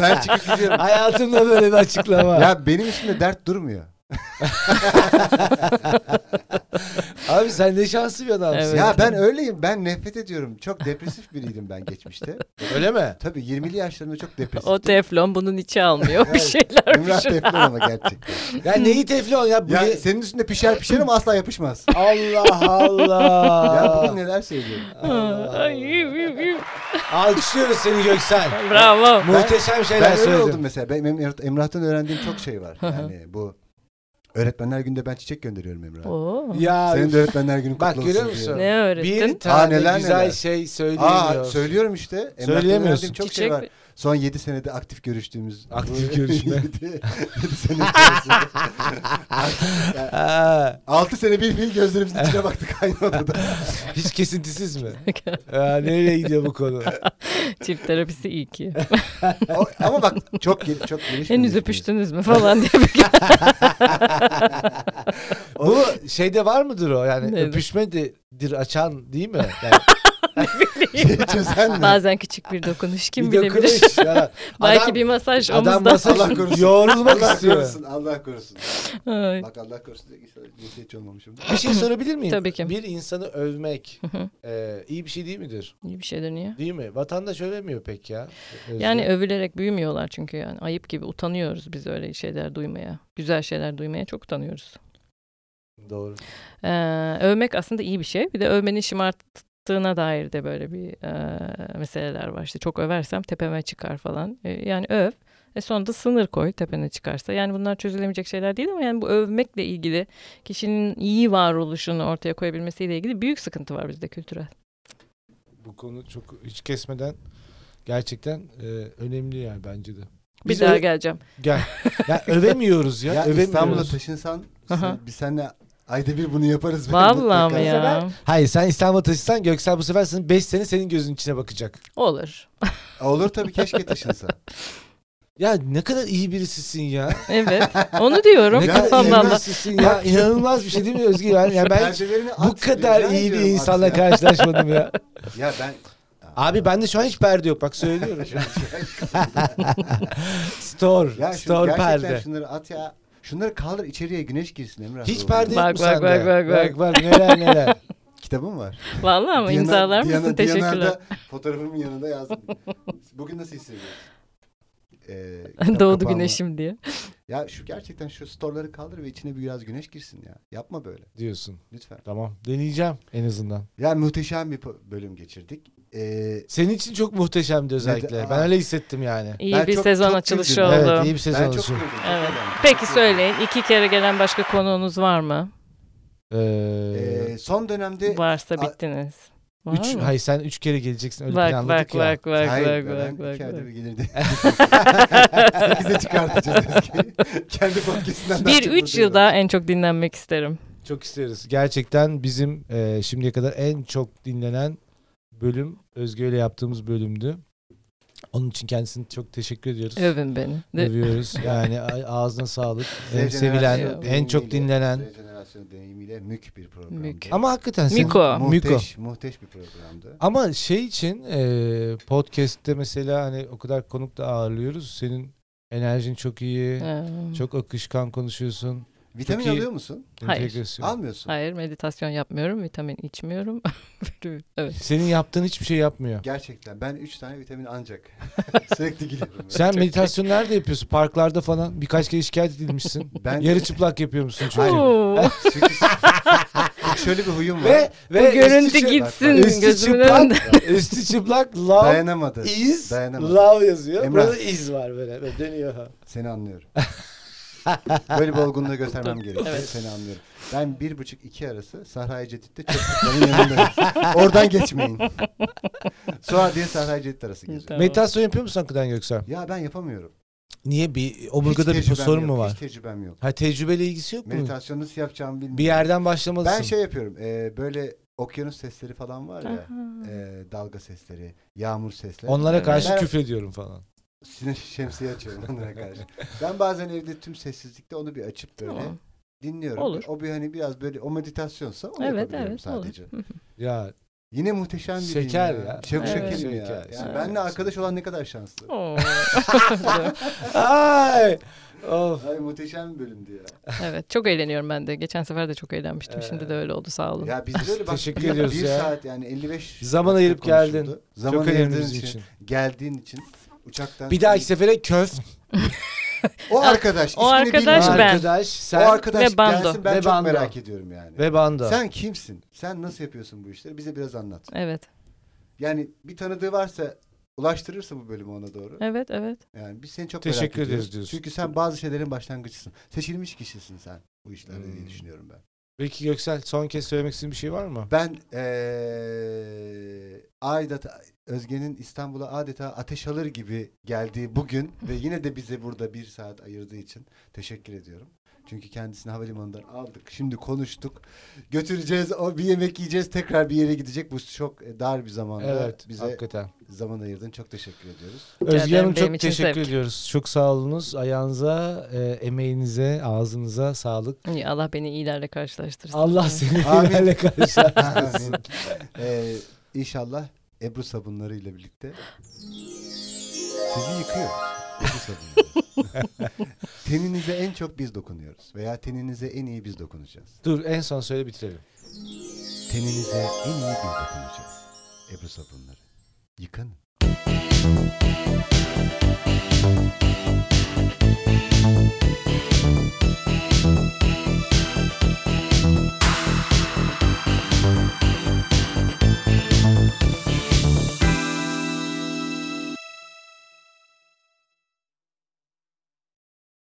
B: ben çıkıp
C: [laughs]
B: gidiyorum.
A: Hayatımda böyle bir açıklama. [laughs]
B: ya benim üstümde dert durmuyor.
A: Abi sen ne şanslı bir adamsın.
C: Evet.
B: Ya ben öyleyim. Ben nefret ediyorum. Çok depresif biriydim ben geçmişte.
A: Öyle mi?
B: Tabii 20'li yaşlarımda çok depresif.
C: O teflon bunun içi almıyor. bir şey.
B: Evet.
C: şeyler
B: Ümran
C: pişir.
B: teflon ama gerçekten.
A: Ya neyi teflon ya? Bu
B: Ya
A: ne-
B: senin üstünde pişer pişer ama asla yapışmaz.
A: Allah Allah.
B: ya bugün neler söylüyorum.
C: [laughs] Ay, yuh, yuh, yuh.
A: Alkışlıyoruz seni Göksel.
C: Bravo.
A: Muhteşem şeyler
B: ben öyle
A: söyledin.
B: oldum mesela. Ben Emrah- Emrah'tan öğrendiğim çok şey var. Yani bu öğretmenler günde ben çiçek gönderiyorum Emrah.
C: Oo.
A: Ya
B: Senin de öğretmenler günü kutlu
A: Bak,
B: olsun.
A: görüyor
B: diye.
A: musun?
C: Ne
A: bir
C: öğrettin?
A: tane
B: neler
A: güzel
B: neler.
A: şey söyleyemiyorsun. [laughs]
B: Aa söylüyorum işte. Emrah'tan
A: Söyleyemiyorsun.
B: öğrendiğim çok şey
C: Çiçek-
B: var. Son 7 senede aktif görüştüğümüz.
A: [laughs] Aktif görüşme.
B: [laughs] 7 sene içerisinde.
A: Ha,
B: 6 sene bir fil gözlerimizin içine baktık aynı odada.
A: hiç kesintisiz mi? Ya, nereye gidiyor bu
B: [laughs]
A: konu?
C: [laughs] Çift terapisi iyi ki.
B: O- ama bak çok gel- çok geniş. bir
C: Henüz
B: ilişkimiz.
C: öpüştünüz mü falan diye bir
A: bu şeyde var mıdır o? Yani
C: Neydi?
A: öpüşmedir açan değil
C: [laughs]
A: mi? Yani
B: Şeyi şey çözen mi?
C: Bazen küçük bir dokunuş kim
A: bir
C: bilebilir.
A: dokunuş, ya.
C: [laughs] Belki
A: Adam-
C: bir masaj
A: Adam
C: omuzda.
A: masaj
B: Allah korusun.
A: yoğrulmak
B: Allah
A: istiyor.
B: korusun, Allah korusun.
C: [laughs] Ay.
B: Bak Allah korusun diye cinsiyetçi olmamışım.
A: Bir şey sorabilir miyim?
C: Tabii ki.
A: Bir insanı övmek
C: hı.
A: e, iyi bir şey değil midir?
C: İyi bir şey dönüyor.
A: Değil mi? Vatandaş övemiyor pek ya. Özlem.
C: Yani övülerek büyümüyorlar çünkü yani ayıp gibi utanıyoruz biz öyle şeyler duymaya. Güzel şeyler duymaya çok utanıyoruz.
A: Doğru.
C: Ee, övmek aslında iyi bir şey. Bir de övmenin şımarttığına dair de böyle bir e, meseleler var. İşte çok översem tepeme çıkar falan. E, yani öv. E sonunda sınır koy tepene çıkarsa. Yani bunlar çözülemeyecek şeyler değil ama yani bu övmekle ilgili kişinin iyi varoluşunu ortaya koyabilmesiyle ilgili büyük sıkıntı var bizde kültürel.
A: Bu konu çok hiç kesmeden gerçekten e, önemli yani bence de.
C: Bir
A: Biz
C: daha
A: öyle-
C: geleceğim. [laughs]
A: Gel. Ya övemiyoruz ya.
B: Ya
A: övemiyoruz.
B: İstanbul'a taşınsan sen-
C: Aha.
B: biz seninle ayda bir bunu yaparız.
C: Vallahi
B: Mutlaka.
C: mi ya?
A: Hayır sen İstanbul'a taşısan Göksel bu sefer senin 5 sene senin gözünün içine bakacak.
C: Olur.
B: Olur tabii keşke taşınsa.
A: Ya ne kadar iyi birisisin ya.
C: Evet. Onu diyorum
A: ne kadar iyi
C: kafamdan. da.
A: birisisin ya. İnanılmaz bir şey değil mi Özgür? Yani, yani [laughs] ben hiç
B: Perdelerini
A: bu
B: at,
A: kadar
B: rica
A: iyi bir
B: ediyorum at
A: insanla
B: ya.
A: karşılaşmadım ya.
B: Ya ben
A: Abi bende şu an hiç perde yok bak söylüyorum. [laughs] store,
B: ya şu,
A: store
B: gerçekten
A: perde.
B: şunları at ya. Şunları kaldır içeriye güneş girsin Emrah.
A: Hiç
B: Oğlum.
A: perde yok
C: Bak,
A: mu
C: bak,
A: sende?
C: bak, bak, bak.
A: bak neler
C: [laughs]
A: neler.
B: Kitabım var.
C: Vallahi mı?
B: Diyanar-
C: İmzalar
B: Diyanar-
C: mısın? Teşekkürler.
B: Diyanar'da fotoğrafımın yanında yazdım. [laughs] Bugün nasıl
C: [laughs]
B: hissediyorsun? Ee, kitap
C: Doğdu
B: kapağıma-
C: güneşim diye.
B: Ya şu gerçekten şu storları kaldır ve içine biraz güneş girsin ya. Yapma böyle
A: diyorsun.
B: lütfen.
A: Tamam deneyeceğim en azından.
B: Ya muhteşem bir po- bölüm geçirdik. Ee,
A: Senin için çok muhteşemdi özellikle.
B: Neden?
A: ben
B: Aa.
A: öyle hissettim yani.
C: İyi
B: Ben
C: bir
B: çok-
C: sezon
B: çok
C: açılışı
B: güldüm.
C: oldu.
A: Evet iyi bir sezon
B: ben çok
A: oluşu.
B: kırdım.
C: Evet. Peki söyleyin iki kere gelen başka konuğunuz var mı?
A: Ee,
B: Ee, son dönemde
C: Varsa
B: a-
C: bittiniz. Var
A: üç,
C: mı?
A: hayır sen üç kere geleceksin öyle
C: Bak
A: planladık
C: bak
A: ya.
C: bak bak bak
B: Hayır,
C: bak
B: ben
C: bak.
B: iki
C: bak.
B: ayda bir
C: [laughs]
B: gelirdi. Sekize çıkartacağız eskiyi. [laughs] Kendi podcast'inden daha
C: Bir
B: çok
C: üç
B: buradayım.
C: yılda en çok dinlenmek isterim.
A: Çok isteriz. Gerçekten bizim e, şimdiye kadar en çok dinlenen bölüm Özge ile yaptığımız bölümdü. Onun için kendisine çok teşekkür ediyoruz.
C: Övün beni. De-
A: Övüyoruz. Yani a- ağzına sağlık.
B: Z
A: En sevilen,
B: jenerasyonu
A: en çok
B: deneyimiyle-
A: dinlenen.
B: Z jenerasyonu deneyimiyle mük bir programdı.
C: Mük.
A: Ama hakikaten senin-
C: Miko.
B: Muhteş, muhteş bir programdı.
A: Ama şey için e, podcast'te mesela hani o kadar konuk da ağırlıyoruz. Senin enerjin çok iyi.
C: Ee,
A: Çok akışkan konuşuyorsun.
B: Vitamin
A: Çok iyi.
B: alıyor musun?
C: Hayır.
A: Entegrasyon.
B: Almıyorsun.
C: Hayır meditasyon yapmıyorum, vitamin içmiyorum. [laughs] evet.
A: Senin yaptığın hiçbir şey yapmıyor.
B: Gerçekten ben 3 tane vitamin
C: [laughs]
B: ancak. [laughs] Sürekli gidiyorum.
A: Sen
C: Çok iyi.
A: meditasyon nerede yapıyorsun? Parklarda falan birkaç kere şikayet edilmişsin.
B: Ben
A: Yarı çıplak yapıyormuşsun çünkü.
B: Hayır.
C: Oo,
B: Çünkü [laughs] şöyle bir huyum var.
A: Ve, ve
C: bu görüntü
A: üstü çı-
C: gitsin
A: üstü
C: gözümün
A: çıplak.
C: önünde.
A: [laughs] Üstü çıplak love
B: Dayanamadı.
A: is
B: Dayanamadım.
A: love yazıyor.
B: Emrah.
A: Burada is var böyle. böyle
B: [laughs]
A: dönüyor.
B: Seni anlıyorum. Böyle bir olgunluğu göstermem gerekiyor.
C: Evet.
B: Seni anlıyorum. Ben bir buçuk iki arası Sahra-i Cedid'de [laughs] çöplüklerin yanındayım. Oradan
C: [laughs]
B: geçmeyin. Sonra diye Sahra-i Cedid arası geziyorum.
C: Tamam.
A: Meditasyon yapıyor musun hakikaten Göksel?
B: Ya ben yapamıyorum.
A: Niye? Bir
B: Hiç
A: omurgada bir
B: tecrübem
A: sorun
B: yok,
A: mu var?
B: Hiç tecrübem yok.
A: Ha tecrübeyle ilgisi yok mu?
B: Meditasyonu nasıl yapacağımı bilmiyorum.
A: Bir yerden başlamalısın.
B: Ben şey yapıyorum. e, böyle okyanus sesleri falan var ya. e, dalga sesleri, yağmur sesleri.
A: Onlara karşı
B: Ben-
A: küfrediyorum falan.
B: Sinir şemsiye açıyorum onlara karşı. Ben bazen evde tüm sessizlikte onu bir açıp böyle
C: Tamam.
B: dinliyorum.
C: Olur.
B: O bir hani biraz böyle o meditasyonsa onu
C: Evet
B: yapabiliyorum
C: evet olur.
B: sadece.
A: [laughs] Ya
B: Yine muhteşem bir
A: Şeker
B: din
A: ya.
B: Çok
C: Evet.
B: şekerim ya.
A: Şeker,
B: Yani
A: şeker.
B: Benle arkadaş olan ne kadar şanslı.
C: Oo.
A: ay of.
B: Ay muhteşem bir bölümdü ya.
C: evet çok eğleniyorum ben de. Geçen sefer de çok eğlenmiştim. Şimdi de öyle oldu sağ olun.
B: Ya biz
A: [laughs]
B: böyle bak
A: Teşekkür
B: bir,
A: ediyoruz
B: bir
A: ya.
B: saat yani 55
A: Zaman
B: dakika
A: ayırıp geldin.
B: konuşuldu. Zaman
A: Çok önemli
B: ayırdığın
A: bizim
B: için,
A: için.
B: Geldiğin için. Uçaktan.
A: Bir dahaki sefere köf.
B: O arkadaş.
C: O
B: ismini
C: arkadaş
B: bilmiyorum.
C: ben.
A: Arkadaş
B: O
A: sen
B: arkadaş
C: Ve Bando.
B: gelsin ben
A: Ve
B: çok
A: Bando.
B: merak ediyorum yani.
A: ve banda.
B: Sen kimsin? Sen nasıl yapıyorsun bu işleri? Bize biraz anlat.
C: Evet.
B: Yani bir tanıdığı varsa ulaştırırsa bu bölümü ona doğru.
C: Evet evet.
B: Yani biz seni çok merak
A: Teşekkür
B: ediyoruz.
A: ederiz diyorsun.
B: Çünkü sen bazı şeylerin başlangıçısın. Seçilmiş kişisin sen bu işlerde
A: Hmm.
B: diye düşünüyorum ben.
A: Peki Göksel son kez söylemek istediğin bir şey var mı?
B: Ben eee adeta Özge'nin İstanbul'a adeta ateş alır gibi
A: [laughs]
B: geldiği bugün ve yine de bize burada bir saat ayırdığı için teşekkür ediyorum. Çünkü kendisini havalimanından aldık. Şimdi konuştuk. Götüreceğiz. O bir yemek yiyeceğiz. Tekrar bir yere gidecek. Bu çok e, dar bir zamanda
A: Evet
B: bize
A: hakikaten.
B: zaman ayırdın. Çok teşekkür ediyoruz.
A: Özge Hanım
C: ederim, benim
A: çok
C: için
A: teşekkür
C: zevk.
A: ediyoruz. Çok sağ olunuz. Ayağınıza, e, emeğinize, ağzınıza sağlık.
C: İyi, Allah beni iyilerle karşılaştırsın.
A: Allah seni
B: Amin.
A: ilerle karşılaştırsın.
B: Eee inşallah Ebru sabunlarıyla birlikte sizi yıkıyoruz. Ebru sabunları. teninize en çok biz dokunuyoruz. Veya teninize en iyi biz dokunacağız.
A: Dur en son söyle bitirelim.
B: Teninize en iyi biz dokunacağız. Ebru sabunları. Yıkanın.